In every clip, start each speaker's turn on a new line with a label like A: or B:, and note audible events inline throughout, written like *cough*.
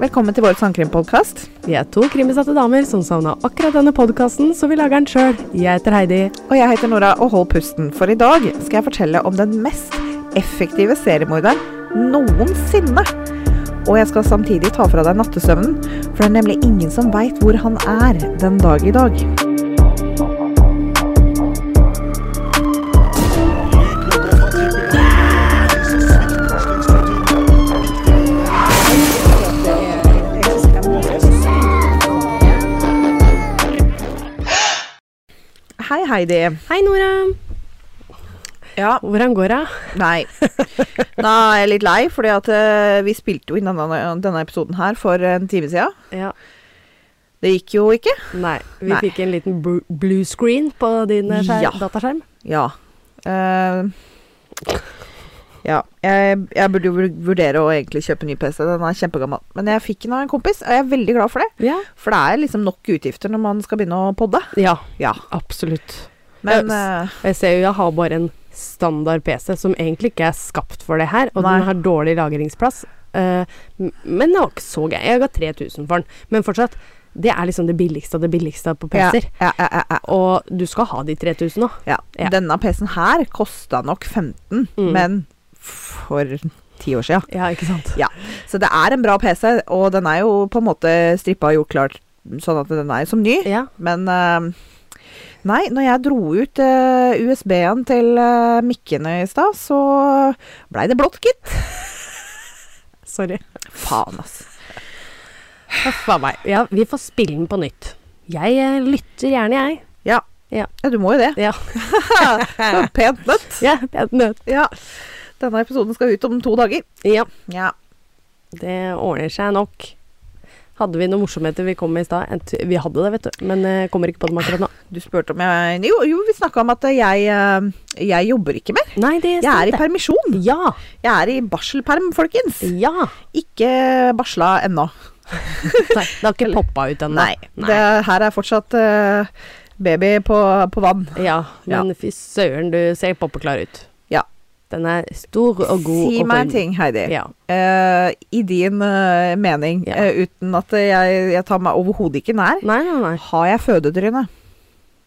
A: Velkommen til vår sangkrimpodkast.
B: Vi er to krimbesatte damer som savna akkurat denne podkasten, så vi lager den sjøl. Jeg heter Heidi.
A: Og jeg heter Nora, og hold pusten, for i dag skal jeg fortelle om den mest effektive seriemorderen noensinne. Og jeg skal samtidig ta fra deg nattesøvnen, for det er nemlig ingen som veit hvor han er den dag i dag. Hei, Heidi.
B: Hei, Nora.
A: Ja,
B: Hvordan går det?
A: Nei. Da er jeg litt lei, fordi at eh, vi spilte jo inn denne, denne episoden her for en time siden.
B: Ja.
A: Det gikk jo ikke.
B: Nei. Vi
A: Nei.
B: fikk en liten bru- blue screen på din eh, skjer-
A: Ja.
B: dataskjerm.
A: Ja. Eh, ja. Jeg, jeg burde jo vur- vurdere å egentlig kjøpe ny PC. Den er kjempegammel. Men jeg fikk den av en kompis, og jeg er veldig glad for det.
B: Ja.
A: For det er liksom nok utgifter når man skal begynne å podde.
B: ja.
A: Ja.
B: Absolutt.
A: Men
B: Ja,
A: eh,
B: Og Jeg ser jo jeg har bare en standard PC som egentlig ikke er skapt for det her, og
A: Nei.
B: den har dårlig lagringsplass. Eh, m- men det var ikke så gøy. Jeg ga 3000 for den, men fortsatt. Det er liksom det billigste av det billigste på
A: ja,
B: PC-er.
A: ja, ja, ja, ja,
B: Og du skal ha de 3000 òg.
A: ja.
B: Ja.
A: Denne PC-en her kosta nok 15,
B: Mm.
A: men for ti år sia.
B: Ja, ikke sant.
A: Så det er en bra PC, og den er jo på en måte strippa og gjort klart sånn at den er som ny.
B: *laughs* Ja.
A: Men eh, Nei, når jeg dro ut eh, USB-en til eh, mikkene i stad, så blei det blått, gitt.
B: Sorry.
A: Faen, ass.
B: Huff a meg. Ja, vi får spille den på nytt. Jeg eh, lytter gjerne, jeg.
A: Ja, du må jo det. *laughs*
B: Ja.
A: Det var Pent nødt.
B: Ja, *laughs* det er nødt.
A: Ja. Denne episoden skal ut om to dager.
B: Ja,
A: Ja.
B: det ordner seg nok. Hadde vi noen morsomheter vi kom med i stad? En t- Vi hadde det, vet du, men eh, kommer ikke på dem akkurat nå.
A: Du spurte om jeg Jo, jo vi snakka om at jeg, eh, jeg jobber ikke mer.
B: Nei, det
A: Jeg er i
B: stemte.
A: permisjon.
B: Ja.
A: Jeg er i barselperm, folkens.
B: Ja.
A: Ikke barsla ennå.
B: Nei, det har ikke poppa ut ennå.
A: Nei. Det her er fortsatt eh, baby på, på vann.
B: Ja, men fy søren, du ser poppeklar ut.
A: Ja.
B: Den er stor og god.
A: si
B: og
A: meg en
B: form.
A: ting, Heidi.
B: Ja.
A: Eh, I din eh, mening,
B: Ja.
A: eh, uten at eh, jeg, jeg tar meg overhodet ikke nær,
B: Nei, nei, nei.
A: har jeg fødetryne?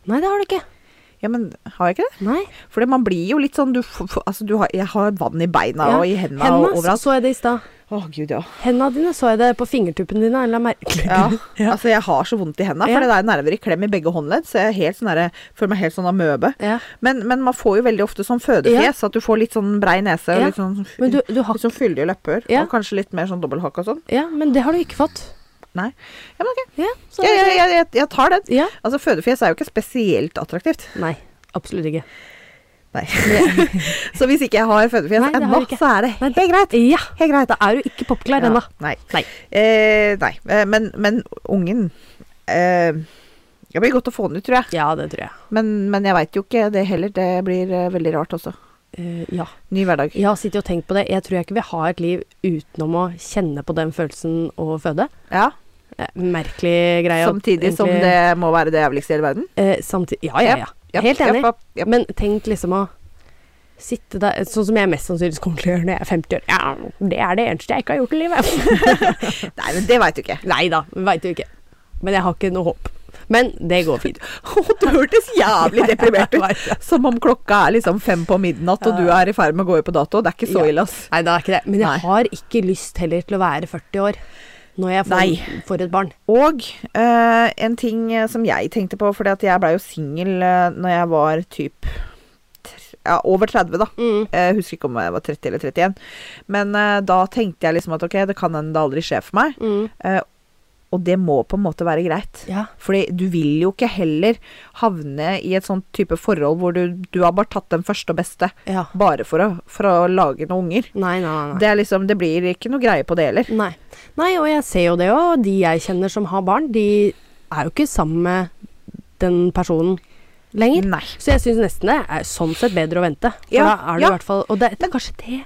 B: Nei, det har du ikke.
A: Ja, men har jeg ikke det?
B: Nei.
A: Fordi man blir jo litt sånn du, f- f- altså, du har, Jeg har vann i beina
B: Ja.
A: og i hendene
B: Henda
A: og overalt.
B: så jeg det i stad.
A: Å, gud, ja.
B: Henda dine så jeg det på fingertuppene dine. Eller merkelig. *laughs*
A: ja. Altså, jeg har så vondt i hendene,
B: Ja.
A: for det er nerver i klem i begge håndledd, så jeg er helt sånn derre- føler meg helt sånn amøbe.
B: Ja.
A: Men, men man får jo veldig ofte sånn fødefjes, at du får litt sånn brei nese og
B: Ja.
A: litt sånn,
B: Men du, du har
A: litt sånn fyldige lepper,
B: Ja.
A: og kanskje litt mer sånn dobbelthakk og sånn.
B: Ja, men det har du ikke fått.
A: Nei. Ja, men ok.
B: Ja, så
A: Jeg, jeg, jeg, jeg, jeg tar den.
B: Ja.
A: Altså, fødefjes er jo ikke spesielt attraktivt.
B: Nei, absolutt ikke.
A: Nei. *laughs* så hvis ikke jeg har fødefjes
B: Nei, det har
A: ennå,
B: du ikke.
A: så er det
B: Nei,
A: helt greit.
B: Ja,
A: Helt greit.
B: da er du ikke popklar
A: Ja,
B: ennå.
A: Nei.
B: Nei.
A: Eh, nei. Eh, Men, men ungen eh, Det blir godt å få den ut, tror jeg.
B: Ja, det tror jeg.
A: Men, men jeg veit jo ikke det heller. Det blir eh, veldig rart også.
B: Eh, ja.
A: Ny hverdag.
B: Jeg har sittet og tenkt på det. Jeg tror jeg ikke vil ha et liv utenom å kjenne på den følelsen å føde.
A: Ja.
B: Eh, merkelig greie. at
A: Samtidig som
B: egentlig-
A: det må være det jævligste i hele verden.
B: eh, samtidig, Ja, ja, ja.
A: Japp,
B: Helt enig.
A: japp, japp, japp.
B: Men tenk liksom å sitte der Sånn som jeg mest sannsynligvis kommer til å gjøre når jeg er 50 år. Ja, det er det eneste jeg ikke har gjort i livet.
A: Nei, men det veit du ikke.
B: Nei da, veit du ikke. Men jeg har ikke noe håp. Men det går
A: *laughs*
B: fint.
A: Å, du hørtes jævlig *laughs* deprimert ut.
B: Vet jeg.
A: Som om klokka er liksom fem på midnatt, og du er i ferd med å gå ut på dato. Det er ikke så
B: Ja.
A: ille, ass.
B: Nei, det er ikke det. Men jeg
A: Nei.
B: har ikke lyst heller til å være 40 år når jeg får,
A: Nei.
B: får et barn.
A: Og eh, en ting eh, som jeg tenkte på, fordi at jeg blei jo singel eh, når jeg var typ tr- ja, over 30, da. Eh, Jeg husker ikke om jeg var 30 eller 31. Men eh, da tenkte jeg liksom at ok, det kan hende det aldri skjer for meg. Eh, og det må på en måte være greit.
B: Ja.
A: Fordi du vil jo ikke heller havne i et sånt type forhold hvor du, du har bare tatt den første og beste
B: ja.
A: bare for å, for å lage noen unger.
B: Nei, nei, nei. nei.
A: Det, er liksom, det blir ikke noe greie på det heller.
B: nei. Nei, og jeg ser jo det òg. De jeg kjenner som har barn, de er jo ikke sammen med den personen lenger.
A: Nei.
B: Så jeg syns nesten det er sånn sett bedre å vente. For
A: Ja,
B: da er det
A: ja.
B: i hvert fall Og det, det er kanskje det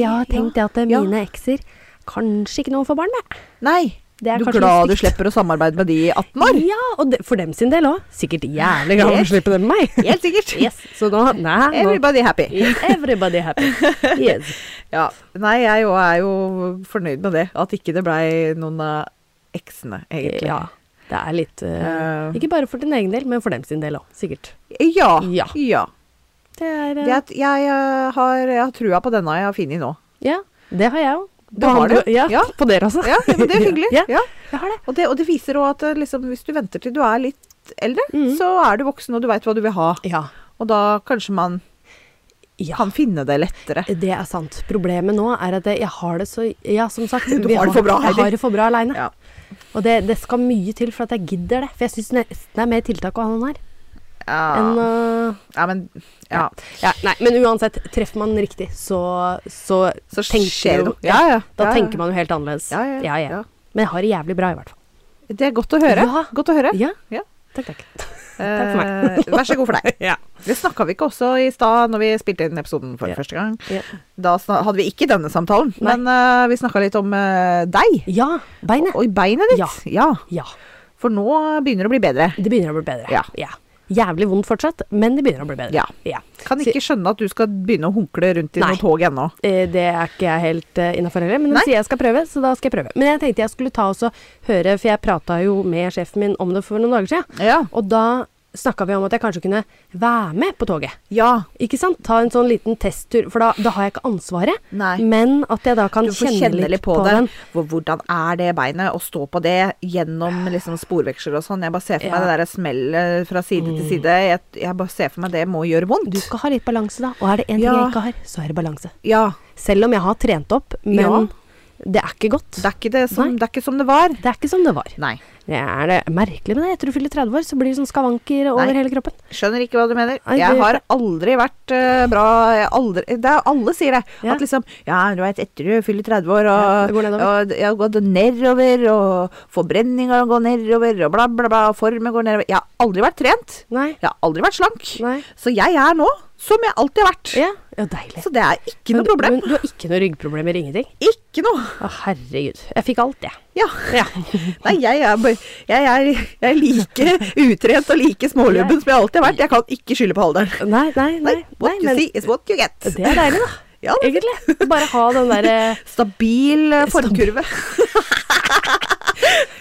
B: jeg har tenkt, det at
A: ja.
B: mine ekser kanskje ikke noen får barn med.
A: Nei.
B: Det er
A: Du
B: kanskje
A: er glad du
B: litt stygt.
A: slipper å samarbeide med de i 18
B: *laughs*
A: år?
B: Ja, og det, for dem sin del òg. Sikkert jævlig glad for å
A: Yes.
B: slippe dem
A: *laughs*
B: med meg.
A: Helt sikkert.
B: Yes, så nå, nei, nå
A: Everybody happy.
B: Yes, Everybody happy. *laughs* Yes.
A: Ja. Nei, jeg jo er jo fornøyd med det. At ikke det blei noen av eksene, egentlig.
B: Ja, det er litt eh,
A: Eh.
B: Ikke bare for din egen del, men for dem sin del òg, sikkert.
A: Ja.
B: Ja.
A: ja.
B: Det er eh,
A: Det at jeg, eh, har, jeg har trua på denne jeg har funnet nå.
B: Ja, det har jeg òg.
A: Du har det?
B: Ja,
A: Ja.
B: På dere, altså.
A: Ja, ja, men det er hyggelig.
B: *laughs* Ja,
A: Ja.
B: jeg har det.
A: Og, det, og det viser òg at eh, liksom, hvis du venter til du er litt eldre,
B: Mm.
A: så er du voksen og du veit hva du vil ha.
B: Ja.
A: Og da kanskje man
B: ja. Eh,
A: kan finne det lettere.
B: Det er sant. Problemet nå er at jeg har det så Ja, som
A: *laughs*
B: sagt.
A: Du
B: vi
A: har det for bra,
B: Jeg
A: Heidi.
B: har det for bra aleine.
A: Ja.
B: Og det, det skal mye til for at jeg gidder det. For jeg syns nesten det er mer tiltak å ha noen her enn eh,
A: Ja.
B: å-
A: ja, men Ja.
B: ja, Nei, men uansett. Treffer man riktig, så Så,
A: Så
B: tenker
A: skjer det
B: jo-
A: noe. Ja, ja.
B: Da
A: ja, ja.
B: tenker man jo helt annerledes.
A: Ja, ja,
B: ja,
A: ja.
B: Men jeg har det jævlig bra, i hvert fall.
A: Det er godt å høre.
B: Ja.
A: Godt å høre.
B: Ja.
A: Ja.
B: Takk, takk.
A: Eh,
B: for meg.
A: Vær så god for
B: *laughs*
A: deg.
B: Ja.
A: Det snakka vi ikke også i stad når vi spilte inn episoden for
B: Ja.
A: første gang.
B: Ja.
A: Da sna- hadde vi ikke denne samtalen,
B: Nei.
A: men eh, vi snakka litt om eh, deg.
B: ja beinet.
A: Og beinet ditt.
B: Ja.
A: Ja.
B: Ja.
A: For nå begynner det å bli bedre.
B: Det begynner å bli bedre.
A: Ja.
B: Jævlig vondt fortsatt, men det begynner å bli bedre.
A: Ja. Kan ikke skjønne at du skal begynne å hunkle rundt i
B: Nei.
A: noe tog ennå.
B: Eh, Det er ikke jeg helt uh, innafor heller, men hun
A: Nei.
B: sier jeg skal prøve, så da skal jeg prøve. Men jeg tenkte jeg skulle ta oss og høre, for jeg prata jo med sjefen min om det for noen dager siden.
A: Ja.
B: Og da snakka vi om at jeg kanskje kunne være med på toget.
A: ja.
B: Ikke sant? Ta en sånn liten testtur, for da, da har jeg ikke ansvaret.
A: Nei.
B: Men at jeg da kan
A: Du får
B: kjenne, litt på,
A: det.
B: den.
A: Hvor- Hvordan er det beinet å stå på det gjennom liksom sporveksler og sånn? Jeg bare ser for meg
B: Ah. Ja. Mm.
A: det derre smellet fra side til side. Jeg, jeg bare ser for meg det må gjøre vondt.
B: Du skal ha litt balanse, da. Og er det én ting
A: Ja.
B: jeg ikke har, så er det balanse.
A: Ja.
B: Selv om jeg har trent opp, men
A: Ja.
B: det er ikke godt.
A: Det er ikke det som
B: Nei.
A: det, er ikke som det var.
B: Det er ikke som det var.
A: Nei.
B: Det er det merkelig med det. Etter du fyller 30 år, så blir det sånn skavanker over
A: Nei.
B: hele kroppen.
A: Skjønner ikke hva du mener.
B: Nei,
A: Jeg
B: det-
A: har aldri vært eh, bra jeg har aldri, det er, Alle sier det.
B: Ja.
A: At liksom Ja, du veit, etter du fyller 30 år, og,
B: Ja, det går nedover.
A: og det- ja, går det nedover, og forbrenninga går nedover, og bla, bla, bla, og formen går nedover Jeg har aldri vært trent.
B: Nei.
A: Jeg har aldri vært slank.
B: Nei.
A: Så jeg er nå som jeg alltid har vært.
B: Ja, ja deilig.
A: Så det er ikke
B: Men
A: noe
B: du-
A: problem.
B: Men du har ikke noe ryggproblemer? Ingenting?
A: Ikke noe.
B: Å, herregud. Jeg fikk alt, jeg.
A: Ja.
B: Ja.
A: *laughs* Nei, jeg er, bare- jeg er, jeg er like utrent og like smålubben som jeg alltid har vært. Jeg kan ikke skylde på alderen.
B: Nei, nei, nei.
A: Nei, what you
B: men
A: see is what you get.
B: det er deilig, da.
A: *laughs* Ja, det-
B: Egentlig. Bare ha den eh, derre
A: Stabil eh, formkurve.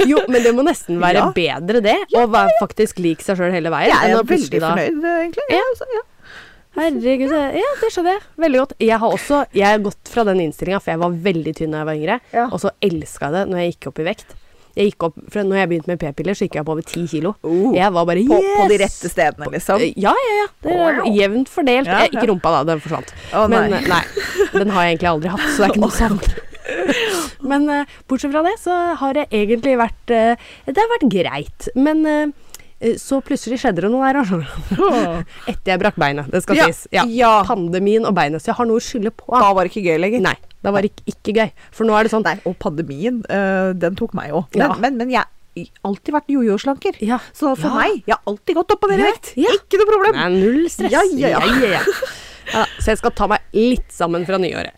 B: Jo, men det må nesten være
A: Ja.
B: bedre, det. Å være faktisk lik seg sjøl hele veien.
A: Jeg
B: enn
A: er
B: å
A: veldig
B: plutselig da-
A: fornøyd, eh, egentlig.
B: Ja.
A: Ja, altså, ja.
B: Herregud, det- ja, det skjønner jeg. Veldig godt. Jeg har også jeg har gått fra den innstillinga, for jeg var veldig tynn da jeg var yngre,
A: Ja.
B: og så elska jeg det når jeg gikk opp i vekt. Jeg gikk opp, fra når jeg begynte med p-piller, så gikk jeg opp over 10 kilo.
A: Oh.
B: Jeg var bare
A: På,
B: yes!
A: på de rette stedene, liksom.
B: eh, Ja, ja, ja. Det er
A: Wow.
B: jevnt fordelt.
A: Ja,
B: Eh,
A: ja.
B: Ikke rumpa, da. Den forsvant.
A: Å, nei.
B: Men, eh, nei. Den har jeg egentlig aldri hatt, så det er ikke noe sånt. *laughs* Men eh, bortsett fra det, så har det egentlig vært eh, Det har vært greit. Men eh, eh, så plutselig skjedde det noe der, altså. *laughs* Etter jeg brakk beinet. Det skal
A: Ja,
B: sies. Ja.
A: ja.
B: Pandemien og beinet. Så jeg har noe å skylde på.
A: Da var det ikke gøy lenger.
B: Nei, det var ikke, ikke gøy. For nå er det sånn
A: Nei, og pandemien, eh, den tok meg òg. Men,
B: Ja.
A: men, men jeg har alltid vært jojo-slanker.
B: Ja.
A: Så for
B: Ja.
A: meg, jeg har alltid gått opp og ned i
B: Ja,
A: vekt.
B: ja.
A: Ikke noe problem.
B: Nei, null stress.
A: Ja, ja, ja.
B: Ja, Så jeg skal ta meg litt sammen fra nyåret.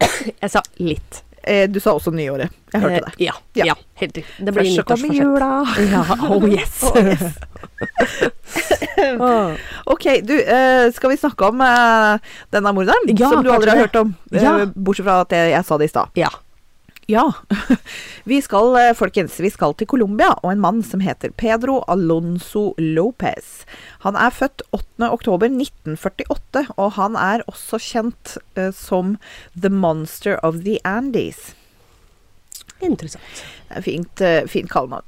B: *clears throat* Jeg sa litt.
A: Eh, du sa også nyåret. Jeg hørte
B: Eh,
A: det.
B: Ja,
A: Ja.
B: ja. helt riktig. Det blir
A: Først så kommer
B: nyttårsforsett.
A: jula.
B: *laughs* Ja, *laughs* oh yes.
A: Oh, yes.
B: Åh.
A: Ok, du, eh, skal vi snakke om eh, denne morderen?
B: Ja,
A: som du aldri
B: kanskje
A: har
B: det.
A: hørt om. eh,
B: Ja.
A: bortsett fra at jeg, jeg sa det i stad.
B: Ja.
A: Ja. *laughs* vi skal, eh, folkens, vi skal til Colombia og en mann som heter Pedro Alonso Lopez. Han er født 8. oktober 1948, og han er også kjent eh, som The Monster of the Andes.
B: Interessant.
A: Det er Fint, eh, fint kallenavn.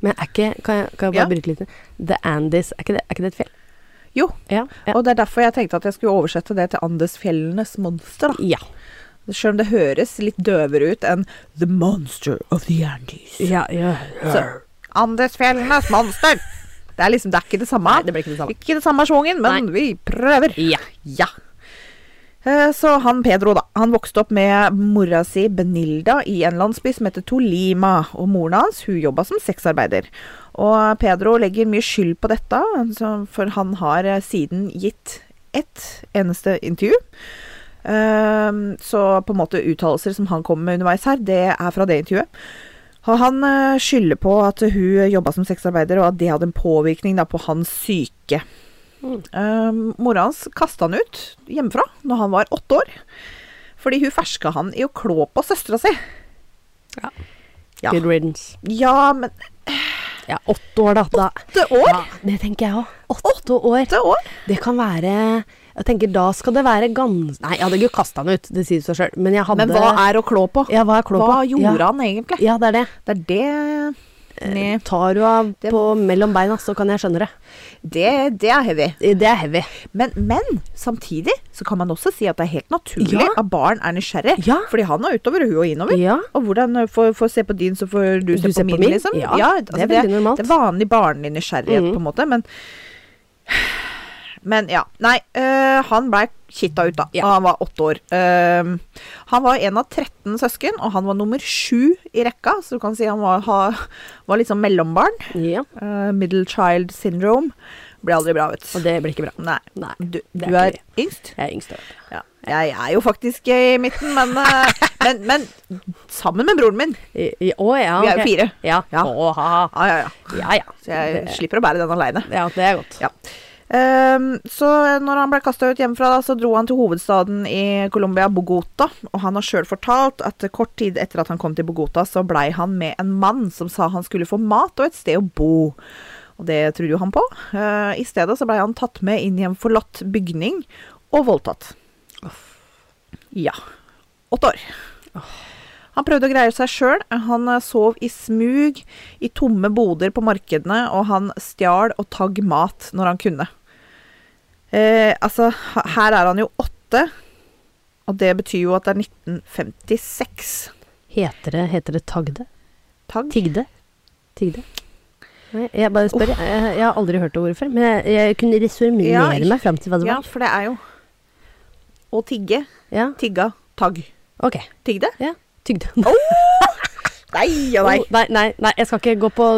B: Men er ikke Kan jeg, kan jeg bare
A: Ja.
B: bryte litt? ned? The Andes, er ikke det, er ikke det et fjell?
A: Jo,
B: Ja. ja.
A: og det er derfor jeg tenkte at jeg skulle oversette det til Andesfjellenes monster, da.
B: ja.
A: Selv om det høres litt døvere ut enn The Monster of the Andes.
B: ja, ja.
A: Så, Andesfjellenes monster! Det er liksom, det er ikke det samme.
B: Nei, det blir ikke det samme.
A: Ikke det samme sjungen, men vi prøver.
B: Ja.
A: Ja. Eh, Så han Pedro, da. Han vokste opp med mora si Benilda i en landsby som heter Tolima. Og moren hans hun jobba som sexarbeider. Og Pedro legger mye skyld på dette, så- for han har eh, siden gitt ett eneste intervju. Eh, Ehm, så på en måte uttalelser som han kom med underveis her, det er fra det intervjuet. Og han eh, skylder på at hun jobba som sexarbeider, og at det hadde en påvirkning da, på hans syke.
B: Mm.
A: Ehm, Mora hans kasta han ut hjemmefra når han var åtte år, fordi hun ferska han i å klå på søstera si. Ja.
B: Good riddance.
A: Ja, men
B: Ja, åtte år, da. da.
A: åtte år?
B: Ja, det tenker jeg òg. Åtte år.
A: Åtte år?
B: Det kan være Jeg tenker da skal det være gans... Nei, jeg hadde ikke kasta han ut, det sier seg sjøl, men jeg hadde
A: Men hva er å klå på?
B: ja, hva, er klå
A: Hva
B: på?
A: gjorde
B: ja.
A: han egentlig? Eh,
B: Ja, det er det.
A: Det er det Nei.
B: Tar du av på mellom beina, så kan jeg skjønne det.
A: Det, det er heavy.
B: Det er heavy.
A: Men, men samtidig så kan man også si at det er helt naturlig
B: Ja.
A: at barn er nysgjerrig.
B: Ja.
A: Fordi han er utover, og hun er innover.
B: Ja.
A: Og hvordan eh, får får se på din, så får du, se på, min, liksom.
B: Ja,
A: altså,
B: det er veldig normalt.
A: Det er vanlig barnlig nysgjerrighet,
B: Mhm.
A: på en måte, men *sighs* Men ja. Nei, øh, han blei kitta ut, da.
B: Ja.
A: Og han var åtte år. Ehm, han var en av 13 søsken, og han var nummer sju i rekka, så du kan si han var, ha, var liksom mellombarn.
B: Ja.
A: Eh, middle child syndrome. Ble aldri bra, vet
B: Og
A: du.
B: det blir ikke bra.
A: Nei.
B: Nei.
A: Du,
B: det
A: du
B: er
A: er
B: ikke
A: yngst?
B: Jeg er yngst. av
A: Ja. Jeg er jo faktisk i midten, men, eh, men, men sammen med broren min.
B: I- i- Å ja.
A: Vi er jo
B: ok.
A: fire.
B: Ja.
A: Ja.
B: Å, ha, ha.
A: Ja, ja, ja.
B: ja, ja.
A: Så jeg
B: det,
A: slipper å bære den aleine.
B: ja, det er godt.
A: Ja. Ehm, så eh, når han ble kasta ut hjemmefra, da, så dro han til hovedstaden i Colombia, Bogota. Og han har sjøl fortalt at kort tid etter at han kom til Bogota, så blei han med en mann som sa han skulle få mat og et sted å bo. Og det trodde jo han på. Eh, I stedet så blei han tatt med inn i en forlatt bygning og voldtatt. Ja. Åtte år. Han prøvde å greie seg sjøl. Han eh, sov i smug, i tomme boder på markedene, og han stjal og tagg mat når han kunne. Eh, altså, ha- her er han jo åtte, og det betyr jo at det er 1956.
B: Heter det, heter det Tagde?
A: Tagg?
B: Tigde? Tigde? Nei, jeg bare spør. Jeg, jeg har aldri hørt det ordet før, men jeg, jeg kunne resonere
A: Ja, ikke-
B: meg fram til hva det
A: Ja,
B: var.
A: for det er jo Å tigge.
B: Ja.
A: Tigga. Tagg.
B: Ok.
A: Tigde?
B: Ja. Tygde.
A: Nei og nei.
B: Oh, nei, nei, nei, jeg skal ikke gå på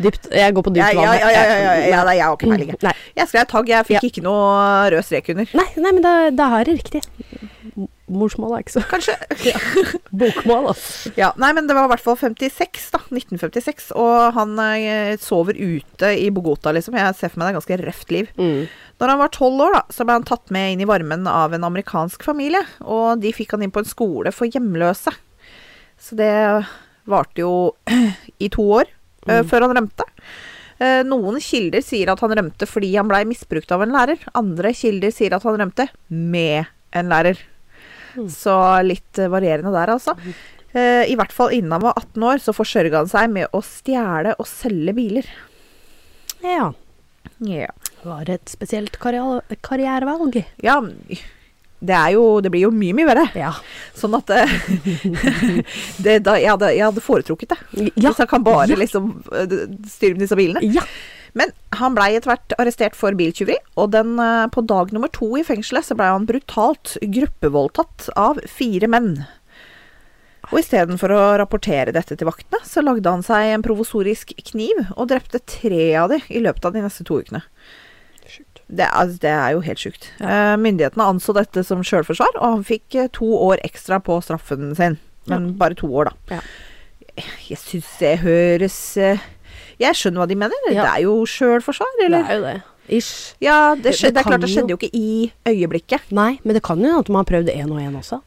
B: dypt. Jeg går på
A: Ja,
B: dypt
A: ja, ja, ja, ja, ja, nei, jeg har ikke peiling.
B: Nei,
A: Jeg skrev tagg, jeg fikk
B: Ja.
A: ikke noe rød strek under.
B: nei, nei, men da, da har jeg riktig. M- Morsmål er ikke så *laughs*
A: Kanskje
B: Bokmål, altså.
A: Ja, nei, men det var i hvert fall 56, da. 1956. Og han eh, sover ute i Bogota, liksom. Jeg ser for meg det er ganske røft liv.
B: Mm.
A: Når han var tolv år, da, så ble han tatt med inn i varmen av en amerikansk familie. Og de fikk han inn på en skole for hjemløse. Så det varte jo *clears throat* i to år eh, før han rømte. Eh, Noen kilder sier at han rømte fordi han blei misbrukt av en lærer. Andre kilder sier at han rømte med en lærer. Så litt eh, varierende der, altså. Eh, I hvert fall innen han var 18 år, så forsørga han seg med å stjele og selge biler.
B: Ja.
A: Ja.
B: Det var et spesielt karriere, karrierevalg.
A: ja det, er jo, det blir jo mye, mye verre.
B: Ja.
A: Sånn at eh, *laughs* det, da, jeg, hadde, jeg hadde foretrukket det.
B: Ja.
A: Hvis han kan bare
B: Ja.
A: liksom eh, styre med disse bilene.
B: ja.
A: Men han blei etter hvert arrestert for biltyveri, og den, eh, på dag nummer to i fengselet så blei han brutalt gruppevoldtatt av fire menn. Og istedenfor å rapportere dette til vaktene, så lagde han seg en provosorisk kniv og drepte tre av de i løpet av de neste to ukene.
B: Sjukt.
A: Det, er- altså, det er jo helt sjukt. Eh, myndighetene anså dette som sjølforsvar, og han fikk eh, to år ekstra på straffen sin. Men bare to år, da.
B: Ja.
A: Jeg syns det høres eh, Jeg skjønner hva de mener.
B: Ja.
A: Det er jo sjølforsvar,
B: Det
A: eller?
B: er jo det. Ish.
A: Ja, det, skjedde,
B: Det
A: det er klart
B: kan
A: det skjedde jo ikke i øyeblikket.
B: Nei, men det kan jo hende at man har prøvd én og én også.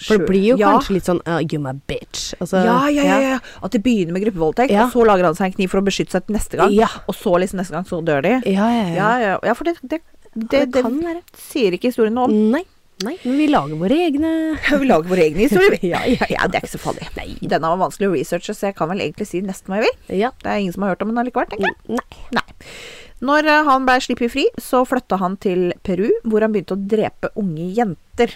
B: For det blir jo
A: ja.
B: kanskje litt sånn uh, You my bitch. Altså,
A: ja, ja, ja, ja. At det begynner med gruppevoldtekt,
B: Ja.
A: og så lager han seg en kniv for å beskytte seg til neste gang.
B: Ja.
A: Og så liksom neste gang, så dør de.
B: Ja, ja, ja.
A: Ja, ja, ja for det, det, det,
B: det
A: det,
B: kan være.
A: sier ikke historien noe om.
B: Nei. Nei, men vi lager våre egne
A: Vi *laughs* lager våre egne historier, vi.
B: *laughs* Ja, ja,
A: ja, det er ikke så farlig. Denne var vanskelig å researche, så jeg kan vel egentlig si nesten hva jeg vil.
B: Ja.
A: Det er ingen som har hørt om den allikevel, tenker jeg.
B: Nei.
A: Nei. Når eh, han ble sluppet fri, så flytta han til Peru, hvor han begynte å drepe unge jenter.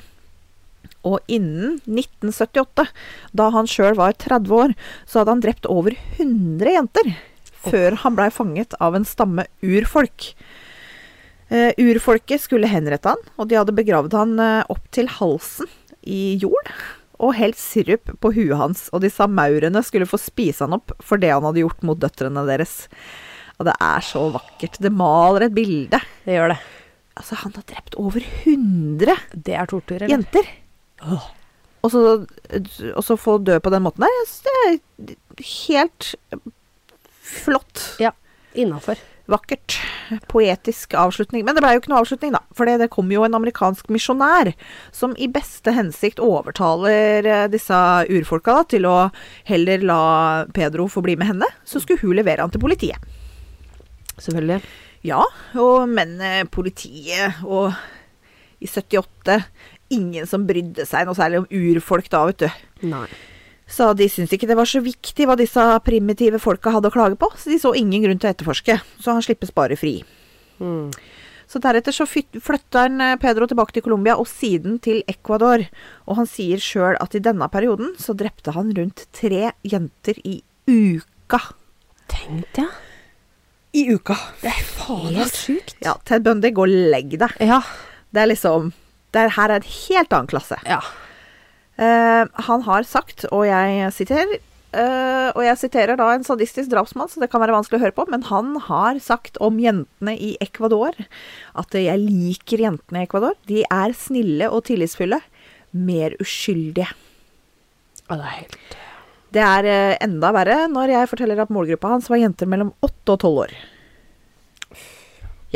A: Og innen 1978, da han sjøl var 30 år, så hadde han drept over 100 jenter. Før han blei fanget av en stamme urfolk. Eh, urfolket skulle henrette han, og de hadde begravd han eh, opp til halsen i jord. Og helt sirup på huet hans, og disse maurene skulle få spise han opp for det han hadde gjort mot døtrene deres. Og det er så vakkert. Det maler et bilde.
B: Det gjør det.
A: Altså, han har drept over 100
B: Det er tortur, eller?
A: jenter.
B: Åh.
A: Og så, og så få dø på den måten der, jeg synes det er helt flott.
B: Innafor.
A: Vakkert. Poetisk avslutning. Men det blei jo ikke noe avslutning, da. For det kom jo en amerikansk misjonær som i beste hensikt overtaler eh, disse urfolka da, til å heller la Pedro få bli med henne. Så skulle hun levere han til politiet.
B: Selvfølgelig.
A: Ja, og men eh, politiet og i 78 Ingen som brydde seg noe særlig om urfolk da, vet du.
B: Nei.
A: Så de syntes ikke det var så viktig hva disse primitive folka hadde å klage på, så de så ingen grunn til å etterforske. Så han slippes bare fri.
B: Mm.
A: Så deretter så fyt- flytter han eh, Pedro tilbake til Colombia, og siden til Ecuador. Og han sier sjøl at i denne perioden så drepte han rundt tre jenter i uka.
B: Tenk deg.
A: I uka?
B: Det er helt sjukt.
A: Ja, Ted Bundy, gå og legg deg.
B: Ja.
A: Det er liksom det er, Her er en helt annen klasse.
B: ja.
A: Eh, han har sagt, og jeg siterer eh, Og jeg siterer da en sadistisk drapsmann, så det kan være vanskelig å høre på, men han har sagt om jentene i Ecuador at eh, jeg liker jentene i Ecuador. De er snille og tillitsfulle. Mer uskyldige.
B: Å, det er helt
A: Det er eh, enda verre når jeg forteller at målgruppa hans var jenter mellom åtte og tolv år.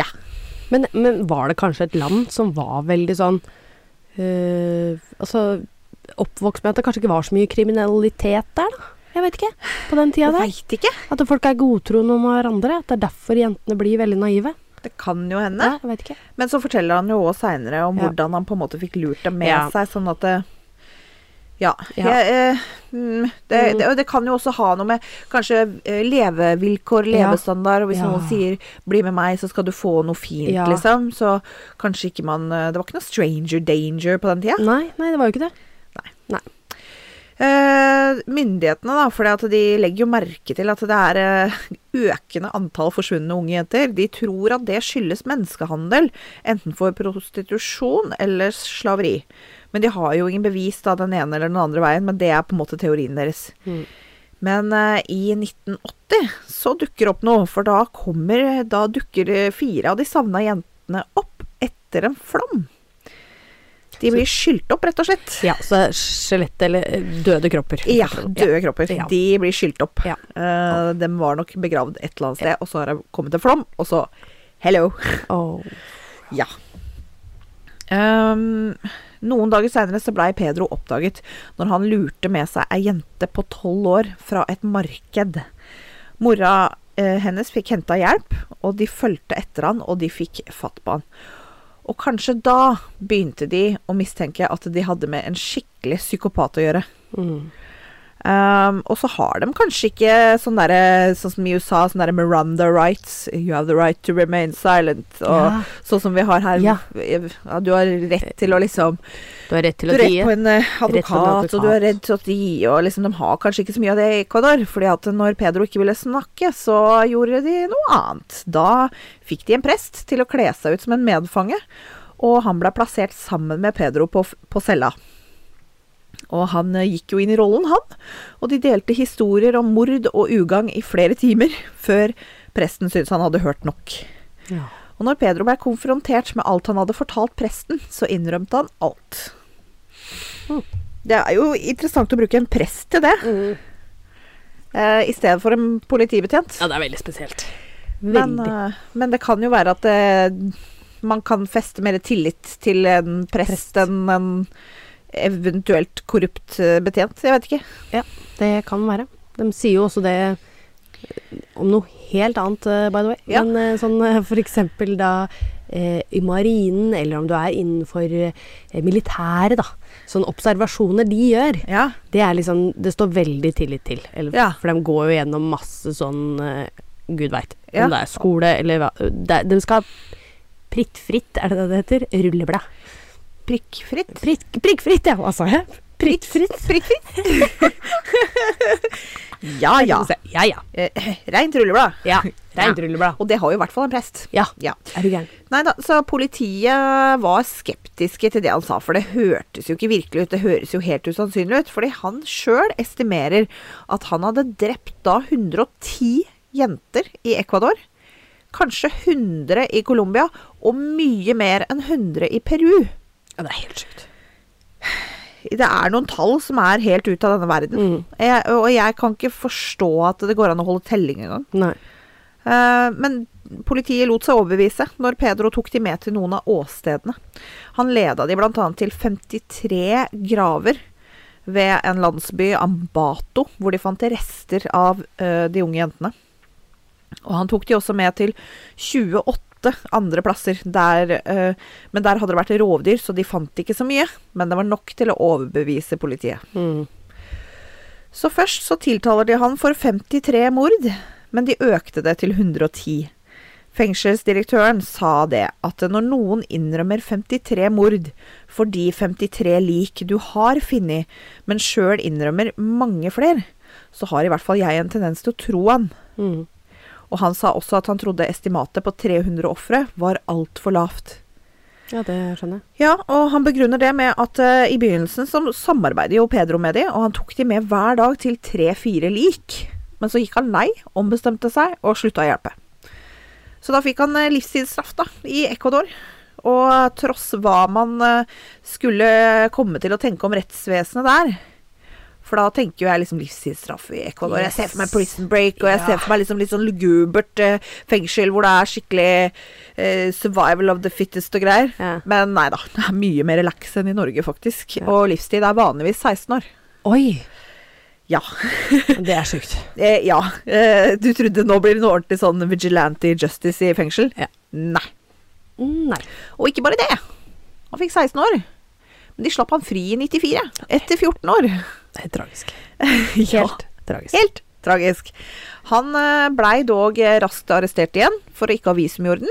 A: Ja.
B: men, men var det kanskje et land som var veldig sånn eh, Altså oppvokst med at det kanskje ikke var så mye kriminalitet der, da? Jeg vet ikke. På den tida
A: Jeg
B: der.
A: veit ikke.
B: At folk er godtroende om hverandre. At det er derfor jentene blir veldig naive.
A: Det kan jo hende.
B: Ja, jeg vet ikke.
A: Men så forteller han jo òg seinere om
B: Ja.
A: hvordan han på en måte fikk lurt dem med
B: Ja.
A: seg, sånn at det Ja.
B: Ja.
A: Jeg, eh, mm, det,
B: Mm.
A: det, og det kan jo også ha noe med kanskje eh, levevilkår,
B: Ja.
A: levestandard, og hvis
B: Ja.
A: noen sier 'bli med meg, så skal du få noe fint',
B: Ja.
A: liksom, så kanskje ikke man eh, Det var ikke noe stranger danger på den tida.
B: Nei, nei, det var jo ikke det.
A: Eh, myndighetene, da, for de legger jo merke til at det er eh, økende antall forsvunne unge jenter. De tror at det skyldes menneskehandel, enten for prostitusjon eller slaveri. Men de har jo ingen bevis da, den ene eller den andre veien, men det er på en måte teorien deres.
B: Mm.
A: Men eh, i 1980 så dukker opp noe, for da, kommer, da dukker eh, fire av de savna jentene opp etter en flom. De blir skylt opp, rett og slett.
B: Ja, så skjelett eller eh, døde kropper.
A: Ja, døde kropper.
B: Ja.
A: De blir skylt opp.
B: Ja.
A: Eh, de var nok begravd et eller annet sted, og så har det kommet en flom, og så Hello. *laughs*
B: Åh.
A: Ja. Ehm, noen dager seinere så blei Pedro oppdaget når han lurte med seg ei jente på tolv år fra et marked. Mora eh, hennes fikk henta hjelp, og de fulgte etter han, og de fikk fatt på han. Og kanskje da begynte de å mistenke at de hadde med en skikkelig psykopat å gjøre.
B: Mm.
A: Um, og så har de kanskje ikke sånn derre, sånn som i USA, sånn derre Miranda rights. You have the right to remain silent. Og
B: Ja.
A: sånn som vi har her.
B: Ja.
A: Ja, du har rett til å liksom
B: Du har rett
A: Du
B: til å
A: har rett
B: tie.
A: på en eh,
B: Rett til en
A: advokat, og du har rett til å gi, og liksom de har kanskje ikke så mye av det i Ecuador. fordi at når Pedro ikke ville snakke, så gjorde de noe annet. Da fikk de en prest til å kle seg ut som en medfange, og han ble plassert sammen med Pedro på, f- på cella. Og han eh, gikk jo inn i rollen, han. Og de delte historier om mord og ugagn i flere timer, før presten syntes han hadde hørt nok.
B: Ja.
A: Og når Pedro ble konfrontert med alt han hadde fortalt presten, så innrømte han alt.
B: Mm.
A: Det er jo interessant å bruke en prest til det, eh, i stedet for en politibetjent.
B: ja, det er veldig spesielt.
A: men,
B: Veldig.
A: eh, men det kan jo være at eh, man kan feste mer tillit til en prest,
B: Prest.
A: enn en eventuelt korrupt eh, betjent. Jeg vet ikke.
B: eh, Det kan være. De sier jo også det eh, om noe helt annet, eh, by the way.
A: Ja.
B: Men eh, sånn eh, for eksempel da eh, i marinen, eller om du er innenfor eh, militæret, da. Sånne observasjoner de gjør,
A: Ja.
B: det er liksom Det står veldig tillit til. Eller,
A: Ja.
B: For de går jo gjennom masse sånn eh, Gud veit.
A: Ja.
B: Om det er skole eller hva det, er- De skal prittfritt, er det det det heter? Rulleblad.
A: Prikkfritt.
B: Prikk, prikkfritt, ja. Hva sa jeg? Prikkfritt.
A: Prikkfritt. *laughs* ja ja.
B: Ja ja.
A: Eh, Reint rulleblad.
B: ja. Rent rulleblad.
A: Og det har jo i hvert fall en prest.
B: Ja.
A: Ja.
B: Er du gæren.
A: Nei da, så politiet var skeptiske til det han sa, for det hørtes jo ikke virkelig ut. Det høres jo helt usannsynlig ut, fordi han sjøl estimerer at han hadde drept da 110 jenter i Ecuador. kanskje 100 i Colombia, og mye mer enn 100 i Peru.
B: Ja, det er helt sjukt.
A: Det er noen tall som er helt ut av denne verden. Jeg, og jeg kan ikke forstå at det går an å holde telling engang.
B: Nei.
A: Eh, Men politiet lot seg overbevise når Pedro tok de med til noen av åstedene. Han leda de bl.a. til 53 graver ved en landsby, Ambato, hvor de fant rester av eh, de unge jentene. Og han tok de også med til 28 andre plasser, der, eh, men der hadde det vært rovdyr, så de fant ikke så mye. Men det var nok til å overbevise politiet.
B: Mm.
A: Så først så tiltaler de han for 53 mord, men de økte det til 110. Fengselsdirektøren sa det, at når noen innrømmer 53 mord for de 53 lik du har funnet, men sjøl innrømmer mange flere, så har i hvert fall jeg en tendens til å tro han.
B: Mm.
A: Og han sa også at han trodde estimatet på 300 ofre var altfor lavt.
B: Ja, det skjønner jeg.
A: Ja, og han begrunner det med at eh, i begynnelsen så samarbeidet jo Pedro med de, og han tok de med hver dag til tre-fire lik. Men så gikk han lei, ombestemte seg og slutta å hjelpe. Så da fikk han eh, livstidsstraff, da, i Ecuador. Og eh, tross hva man eh, skulle komme til å tenke om rettsvesenet der For da tenker jo jeg liksom livstidsstraff i Ecuador. Jeg ser for meg
B: Yes.
A: prison break, og jeg
B: Ja.
A: ser for meg liksom litt sånn lugubert eh, fengsel hvor det er skikkelig eh, survival of the fittest og greier.
B: Ja.
A: Men nei da, det er mye mer relax enn i Norge, faktisk.
B: Ja.
A: Og livstid er vanligvis 16 år.
B: Oi!
A: Ja. *laughs*
B: Det er sjukt.
A: Eh, ja. Eh, du trodde nå blir det noe ordentlig sånn vigilante justice i fengsel?
B: Ja.
A: Nei.
B: Mm, Nei.
A: Og ikke bare det. Han fikk 16 år. Men de slapp han fri i 94. Etter 14 år. *laughs*
B: Det er *laughs* tragisk.
A: Ja.
B: Helt tragisk.
A: Helt tragisk. Han eh, blei dog eh, raskt arrestert igjen for å ikke ha visum i orden.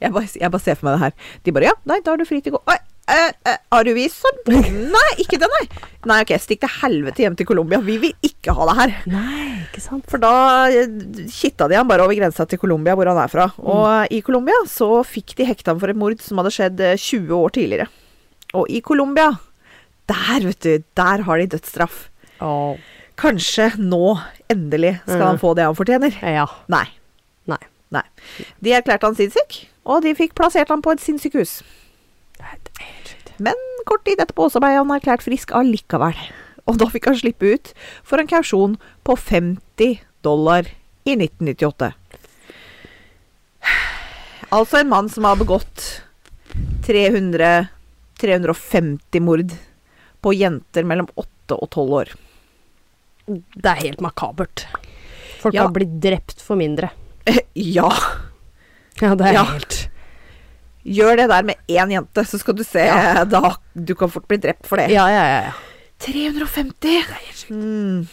A: Jeg bare, jeg bare ser for meg det her. De bare ja, nei, da har du fri til å gå. Oi, eh, eh, har du visum? Nei, ikke det, nei. Nei, ok, stikk til helvete hjem til Colombia. Vi vil ikke ha det her.
B: Nei, ikke sant?
A: For da eh, kitta de han bare over grensa til Colombia, hvor han er fra. Og eh, i Colombia så fikk de hekta han for et mord som hadde skjedd eh, 20 år tidligere. Og i Colombia, der, vet du, der har de dødsstraff.
B: Åh.
A: Kanskje nå, endelig, skal
B: Mm.
A: han få det han fortjener.
B: Ja.
A: Nei.
B: Nei.
A: Nei. De erklærte han sinnssyk, og de fikk plassert han på et sinnssykehus.
B: Det er helt sjukt.
A: Men kort tid etterpå også ble han erklært frisk allikevel. Og da fikk han slippe ut for en kausjon på 50 dollar i 1998. Altså en mann som har begått 300 350 mord på jenter mellom 8 og 12 år.
B: Det er helt makabert. Folk
A: Ja.
B: har blitt drept for mindre.
A: *laughs* Ja!
B: Ja, det er
A: Ja.
B: helt
A: Gjør det der med én jente, så skal du se. *laughs* Da, du kan fort bli drept for det.
B: Ja, ja, ja. ja.
A: 350! Mm.